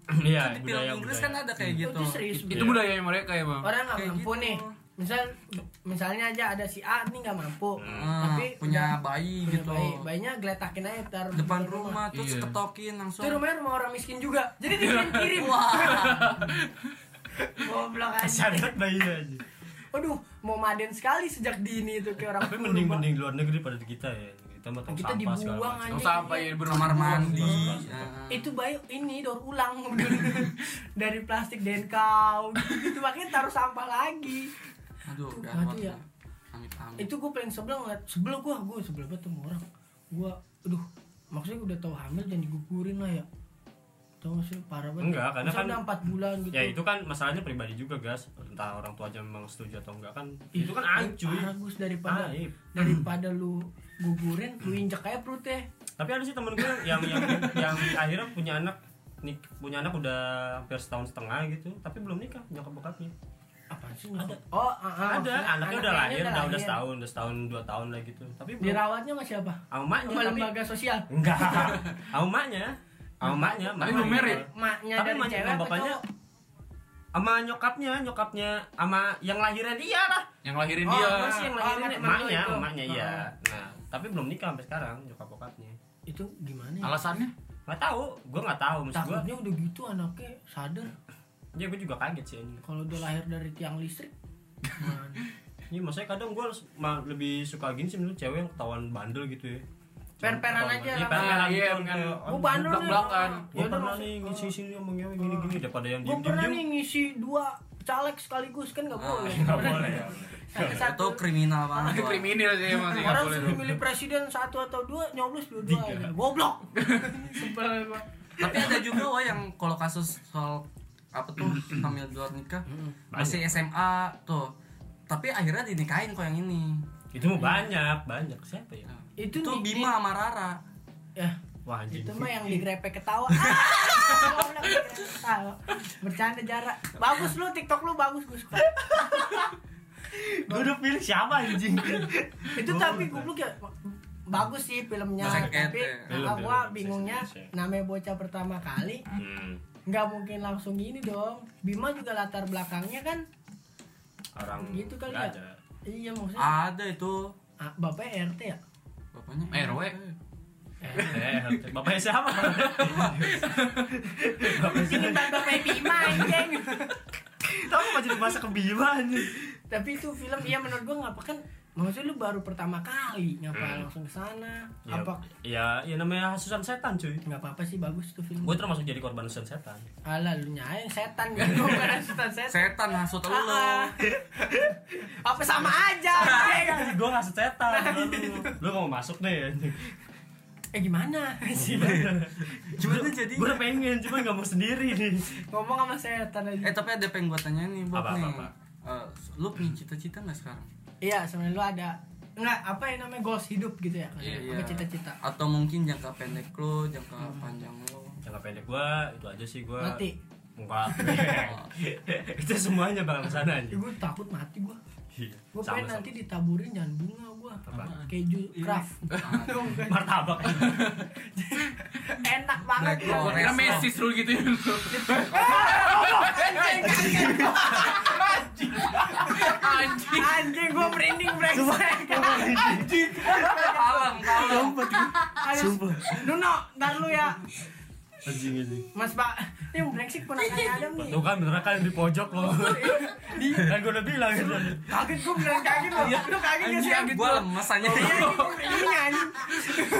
A: iya
D: di film
A: budaya
D: Inggris kan
A: budaya
D: ada kayak gitu
B: Oh, Itu serius
A: Iya.
C: Itu budayanya mereka ya, Bang.
B: orang nggak
D: Kayak
B: mampu
D: gitu.
B: nih misal misalnya aja ada si A nih nggak mampu
D: Hmm,
B: tapi
D: punya
B: udah
D: bayi
B: punya
D: gitu
B: bayi bayinya geletakin aja taruh di
D: depan rumah terus
C: Iya.
D: ketokin langsung
B: itu rumahnya rumah orang miskin juga jadi dikirim kirim
D: wah
B: goblok
A: kasihan
B: aja
A: banget bayi aja
B: aduh mau maden sekali sejak dini itu kayak orang
A: tapi
B: kurma.
A: mending mending luar negeri pada kita ya kita mah tong
B: Kita
A: sampah segala
B: dibuang
A: macam
B: aja.
C: Nggak sampai
D: kamar mandi Ah.
B: itu bayi ini daur ulang dari plastik dan kau gitu makanya taruh sampah lagi
D: aduh
B: Tuh,
D: udah
B: aduh
D: aduh,
B: ya.
D: amit-amit
B: itu gue paling sebel ngeliat sebel gue gue sebel banget sama orang gue aduh maksudnya udah tahu hamil dan digugurin lah ya tau gak sih parah banget
A: Enggak, karena
B: Misalnya
A: kan-
B: udah empat bulan gitu
A: ya itu kan masalahnya pribadi juga guys entah orang tua aja memang setuju atau enggak kan
B: Ih,
A: itu kan aib cuy iya.
B: parah Gus, daripada
A: Aib.
B: daripada lu gugurin lu injek aja perutnya
A: tapi ada sih temen gue yang yang yang akhirnya punya anak nih punya anak udah hampir setahun setengah gitu tapi belum nikah nyokap bokapnya
B: apa sih ada oh ah, ah,
A: ada
B: maksudnya
A: anaknya udah lahir udah udah
B: lahir.
A: setahun udah setahun dua tahun lah gitu tapi belum
B: dirawatnya sama siapa
A: sama emaknya,
B: sama
A: tapi
B: lembaga sosial
A: enggak sama emaknya sama emaknya
C: Tapi
A: emaknya.
C: belum married.
B: maknya
A: tapi
B: dari
A: emaknya
B: cewek
A: sama
B: apa
A: bapaknya
B: cowok?
A: sama nyokapnya nyokapnya sama yang lahirnya dia lah
C: Yang lahirin
A: Oh,
C: dia.
A: masih yang
B: Oh,
A: lahirin
B: sama temen lu
A: emaknya
B: itu. Ah.
A: emaknya iya nah tapi belum nikah sampai sekarang nyokap bokapnya
B: itu gimana ya?
C: Alasannya?
A: nggak tahu gue nggak tahu maksud gue
B: takutnya udah gitu anaknya sadar
A: ya gue juga kaget sih ini
B: kalau udah lahir dari tiang listrik gimana?
A: Ini Iya, maksudnya kadang gue lebih suka gini sih menurut cewek yang ketahuan bandel gitu ya.
B: Per-peran
A: Ketahuan
B: aja
A: bandel. Iya,
B: lah.
A: per-peran
C: Ah, iya,
A: gitu.
C: kan.
A: Kayak,
B: Gua
A: aduh,
B: Oh, bandel nih.
A: gua-
B: Iya,
C: belak-belakan.
A: Gua
B: Yaudah,
A: pernah
B: maksud-
A: nih ngisi-sini ngomong ngewe gini-gini daripada yang
B: Gue Oh.
A: diem-diem. Ah,
B: pernah nih ngisi dua caleg sekaligus kan nggak boleh.
A: Nggak boleh. ya.
D: itu
B: Satu,
D: kriminal banget
C: Itu
D: Bang.
C: kriminal sih emang sih nggak
B: orang
C: boleh.
B: suruh milih presiden satu atau dua nyoblos dua-dua aja. Goblok. Sebel gua.
D: tapi ada juga wah yang kalau kasus soal apa tuh hamil di luar nikah masih SMA tuh tapi akhirnya dinikahin kok yang ini
A: Itu mah banyak, banyak siapa ya?
D: Nah,
B: Itu
D: itu
B: nih-
D: Bima sama Rara
B: Ya,
A: Wah anjing.
B: itu mah yang digrepek ketawa. Ah, goblok, digrepek ketawa. Bercanda jarak. Bagus lu TikTok lu bagus gue suka.
A: Gue udah pilih siapa anjing.
B: Itu tapi goblok ya bagus sih filmnya
D: Basket,
B: tapi
D: ya.
A: Film,
B: ah,
A: film.
B: gua bingungnya
A: Indonesia.
B: namanya bocah pertama kali
A: Hmm,
B: nggak mungkin langsung gini dong Bima juga latar belakangnya kan
A: orang
B: Gitu kali
A: nggak
B: ya?
A: ada.
B: iya maksudnya
D: ada itu
B: ah, bapaknya RT ya
D: bapaknya
C: RW.
A: Eh, bapaknya siapa? Bapaknya
B: Ingin
A: siapa?
B: bapaknya Bima anjing
A: Tahu nggak jadi masa kebiwa anjing.
B: tapi itu film iya menurut gua ngapa kan maksudnya lu baru pertama kali ngapa
A: Hmm.
B: langsung ke sana
A: Ya,
B: apa
A: ya, ya namanya hasutan setan cuy.
B: nggak apa-apa sih bagus tuh film
A: Gue termasuk jadi korban hasutan setan.
B: alah lu nyayang setan gitu bukan setan setan
D: setan hasut lu
B: Ah, ah. apa sama aja anjing?
A: gue ngasut setan lu mau masuk deh
B: eh gimana
D: gimana jadi
A: gue udah pengen cuma nggak mau sendiri nih
B: ngomong sama setan aja
D: eh tapi ada pengen gua tanyain nih Bob
A: Apa,
D: nih
A: apa, apa?
D: Eh, lu punya cita-cita nggak sekarang
B: iya sebenarnya lu ada nggak apa yang namanya goals hidup gitu ya apa cita-cita
D: atau mungkin jangka pendek lu jangka panjang lu
A: jangka pendek gue itu aja sih gue
B: mati
A: enggak itu semuanya bakal
B: ya,
A: kesana anjing
B: gue takut mati gue
A: Iya.
B: Gue
A: Sama,
B: pengen
A: sama.
B: nanti ditaburin jangan bunga gue
A: Apaan?
B: Keju craft
A: martabak.
B: Enak banget
D: Black
B: ya.
D: forest.
C: Kira Messi seru gitu ya. Anjing.
B: Anjing gue merinding brengsek
D: Kalem, kalem.
B: Sumpah Nuno, ntar lu ya
A: Anjing anjing.
B: Mas Pak Ini brengsek ponakannya Adam nih
A: Tuh kan beneran kan yang di pojok loh. kan gue udah bilang gitu.
B: Kaget gue beneran kaget loh Lu kaget gak sih kaget
D: Gue lemes aja.
B: Ini anjing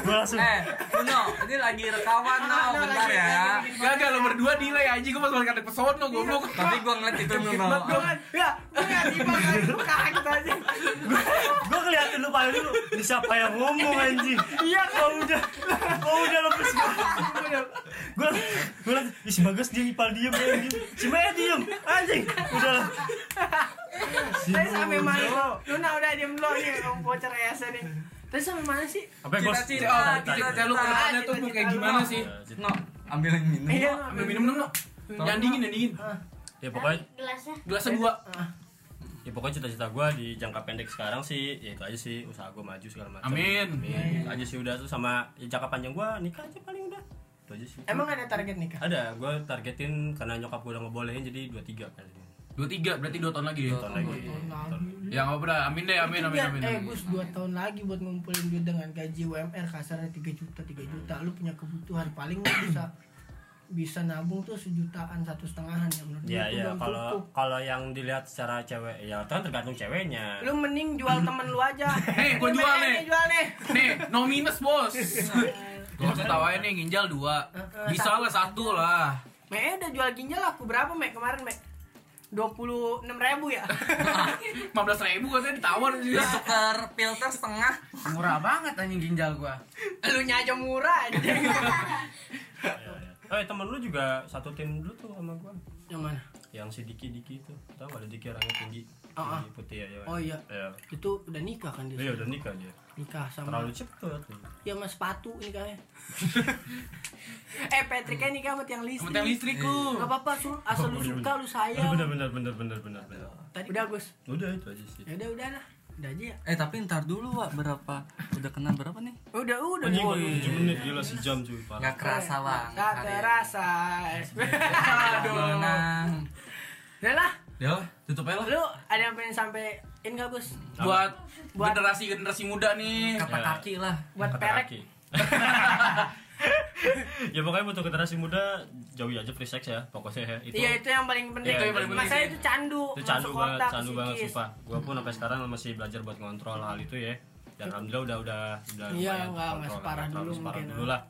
A: Gue langsung
D: Eh, Nuno, ini lagi rekaman no,
B: Nah, nah,
D: bentar
B: lagi-
D: ya.
B: lagi- lagi-
C: Gagal lo berdua delay anjing gua pas balik ada pesona goblok.
D: Tapi gue ngeliat itu Nuno.
B: Gue kan, ya, gue gak tiba kan, gue kaget aja
A: gue ngeliatin lu paling dulu "Ini siapa yang ngomong anjing iya
B: kan?
A: kau udah kau udah lepas gue gue liat "Ih, si bagus dia ipal diem dia anjing si Maya diem anjing udah lah Si
B: Tapi sampai
A: Nuno.
B: mana lo? Nuna udah diem dulu nih, om voucher ESA nih Tapi sampai mana sih?
A: apa ya, bos?
D: Cita-cita,
A: Oh,
C: Cita-cita cita-cita lu ke depannya tuh mau kayak gimana sih?
A: cita-cita.
D: No, ambilin minum.
B: Iya,
C: Ambil minum dong lo. Yang dingin, yang dingin.
A: ya pokoknya
F: gelasnya
C: Gelasnya dua.
A: ya pokoknya cita-cita gue di jangka pendek sekarang sih ya itu aja sih usaha gue maju segala macam
C: Amin.
A: Amin. itu aja sih udah tuh sama ya, jangka panjang gue nikah aja paling udah itu aja sih
B: Emang ada target nikah?
A: ada gue targetin karena nyokap gue udah ngebolehin jadi dua tiga kali
C: Dua tiga berarti dua tahun lagi. ya?
A: Oh, tahun lagi
C: Ya nggak apa-apa. Amin deh, amin, amin,
B: Tiga-
C: amin.
B: eh
C: amin.
B: Gus 2 tahun lagi buat ngumpulin duit dengan gaji UMR kasarnya 3 juta 3 juta lu punya kebutuhan paling lu bisa bisa nabung tuh sejutaan satu setengahan ya menurut
A: Ya
B: gua itu
A: ya
B: belum
A: kalau
B: cukup.
A: kalau yang dilihat secara cewek ya kan tergantung ceweknya.
B: lu mending jual temen lu aja
C: Nih, gua
B: Lu
C: jual
B: main aja
C: nih.
B: jual nih
C: Nih, no minus bos. Gua ketawain nih ginjal dua. Bisa lah Eh, satu lah.
B: Mek eh, udah jual ginjal aku berapa Mek kemarin Mek 26 ribu ya
C: Lima belas ribu katanya ditawar juga.
D: Tuker filter setengah.
E: Murah banget anjing ginjal gua.
B: lu aja murah aja
A: Ya, ya. Eh temen lu juga satu tim dulu tuh sama gua.
B: yang mana
A: Yang si Diki Diki itu. Tahu nggak ada Diki orangnya tinggi.
B: Ah, ah.
A: tinggi putih ya. ya.
B: Oh, iya.
A: Ya.
B: itu udah nikah kan dia
A: Iya udah nikah dia.
B: nikah sama
A: Terlalu cepet.
B: ya mas sepatu nikahnya eh Patricknya nikah sama tiang listrik
C: Kemudian listrikku.
B: Gak apa-apa, su- asal lu
A: Iya, Bener,
B: suka, lu sayang.
A: Eh, Bener bener bener bener bener bener.
B: Tadi udah Gus.
A: Udah itu aja sih.
B: Ya udah udah lah. Udah aja ya.
D: Eh, tapi ntar dulu, Wak. Berapa? Udah kena berapa nih?
B: Udah udah. Oh, iya.
A: Anjing baru 7 menit gila sejam cuy parah.
D: Nggak kerasa, Bang.
B: Tak terasa.
D: Menang.
B: Udah lah.
C: Ya, tutup aja lah.
B: Lu ada yang pengen sampein gak Gus?
C: Buat
B: Buat-
C: generasi generasi muda nih.
D: Kata
A: Ya.
D: kaki lah.
B: Buat
A: Kata
B: perek.
A: kaki. ya pokoknya untuk generasi muda jauhi aja free sex ya pokoknya ya. itu
B: Iya itu yang paling penting.
A: Iya, itu yang
C: paling penting.
B: Masalahnya itu candu.
A: itu candu
B: masuk
A: banget
B: otak,
A: candu banget
B: psikis.
A: sumpah gue pun sampai sekarang masih belajar buat ngontrol hal itu ya dan alhamdulillah udah udah udah
B: Iya,
A: lumayan
B: nggak- nggak
A: kontrol,
B: separah
A: ngontrol,
B: dulu
A: separah
B: mungkin,
A: dulu
B: ah.
A: lah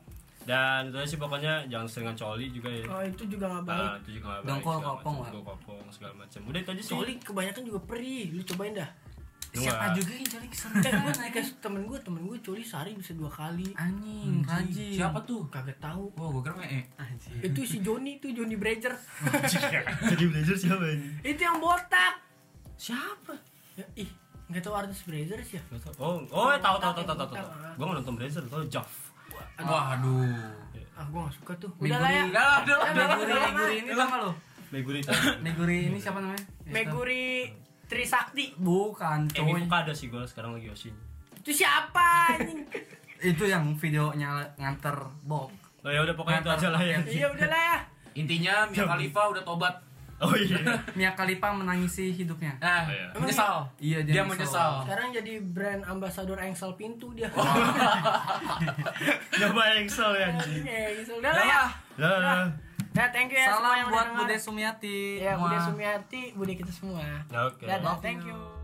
A: dan itu aja sih pokoknya jangan seringan coli juga ya
B: Oh itu juga gak baik.
A: Nah, itu juga nggak baik,
D: Dongkol
A: segala
D: kopong
A: macam.
D: lah.
A: Dongkol kopong segala macam udah itu aja sih
B: Soalnya kebanyakan juga perih. Lu cobain dah.
A: Dua.
D: Siapa juga yang cari kesana?
B: Eh gue naik ke temen gue, temen gue coli sehari bisa dua kali.
D: Anjing, rajin.
C: Siapa tuh?
B: Kagak tahu.
C: Wah, gua kira eh.
B: Itu si Joni tuh Joni Breger.
A: jadi belajar siapa ini
B: itu yang botak. Siapa? Ya, ih, nggak tahu artis Brezer sih ya.
A: Nggak tahu. oh oh eh, tahu tahu tahu tahu tahu
B: Tahu.
A: gue nonton blazer tahu Jav
C: Wah, aduh.
B: Ah, gua gak suka tuh. Udah lah ya.
C: Udah lah, udah lah, udah lah.
D: Meguri, Meguri ini sama lo?
A: Meguri tahu.
D: Meguri ini siapa namanya?
B: Meguri Trisakti.
D: Bukan,
A: Emi
D: coy.
A: Fukada sih gue sekarang lagi Yoshin
B: Itu siapa anjing?
D: Itu yang videonya nganter bok.
A: oh ya udah pokoknya itu aja lah ya
B: Iya udah lah ya.
C: Intinya Mia Khalifa udah tobat.
A: oh iya
D: Mia Khalifa menangisi hidupnya.
C: Nah,
A: Oh, iya.
C: menyesal.
D: Iya, dia
C: dia
D: menyesal.
C: menyesal.
B: Sekarang jadi brand ambasador Engsel Pintu dia.
D: Oh,
A: nyoba yang sel ya anjing.
B: Anjing, Engsel. Udah lah ya.
A: Lah, lah, lah.
B: Nah, thank you ya semua
D: Salam
B: yang
D: buat
B: udah
D: Bude
B: dengar.
D: Sumiati.
B: Ya, Bude
D: Muah.
B: Sumiati, Bude kita semua.
A: Nah, Oke.
B: Dadah, thank you.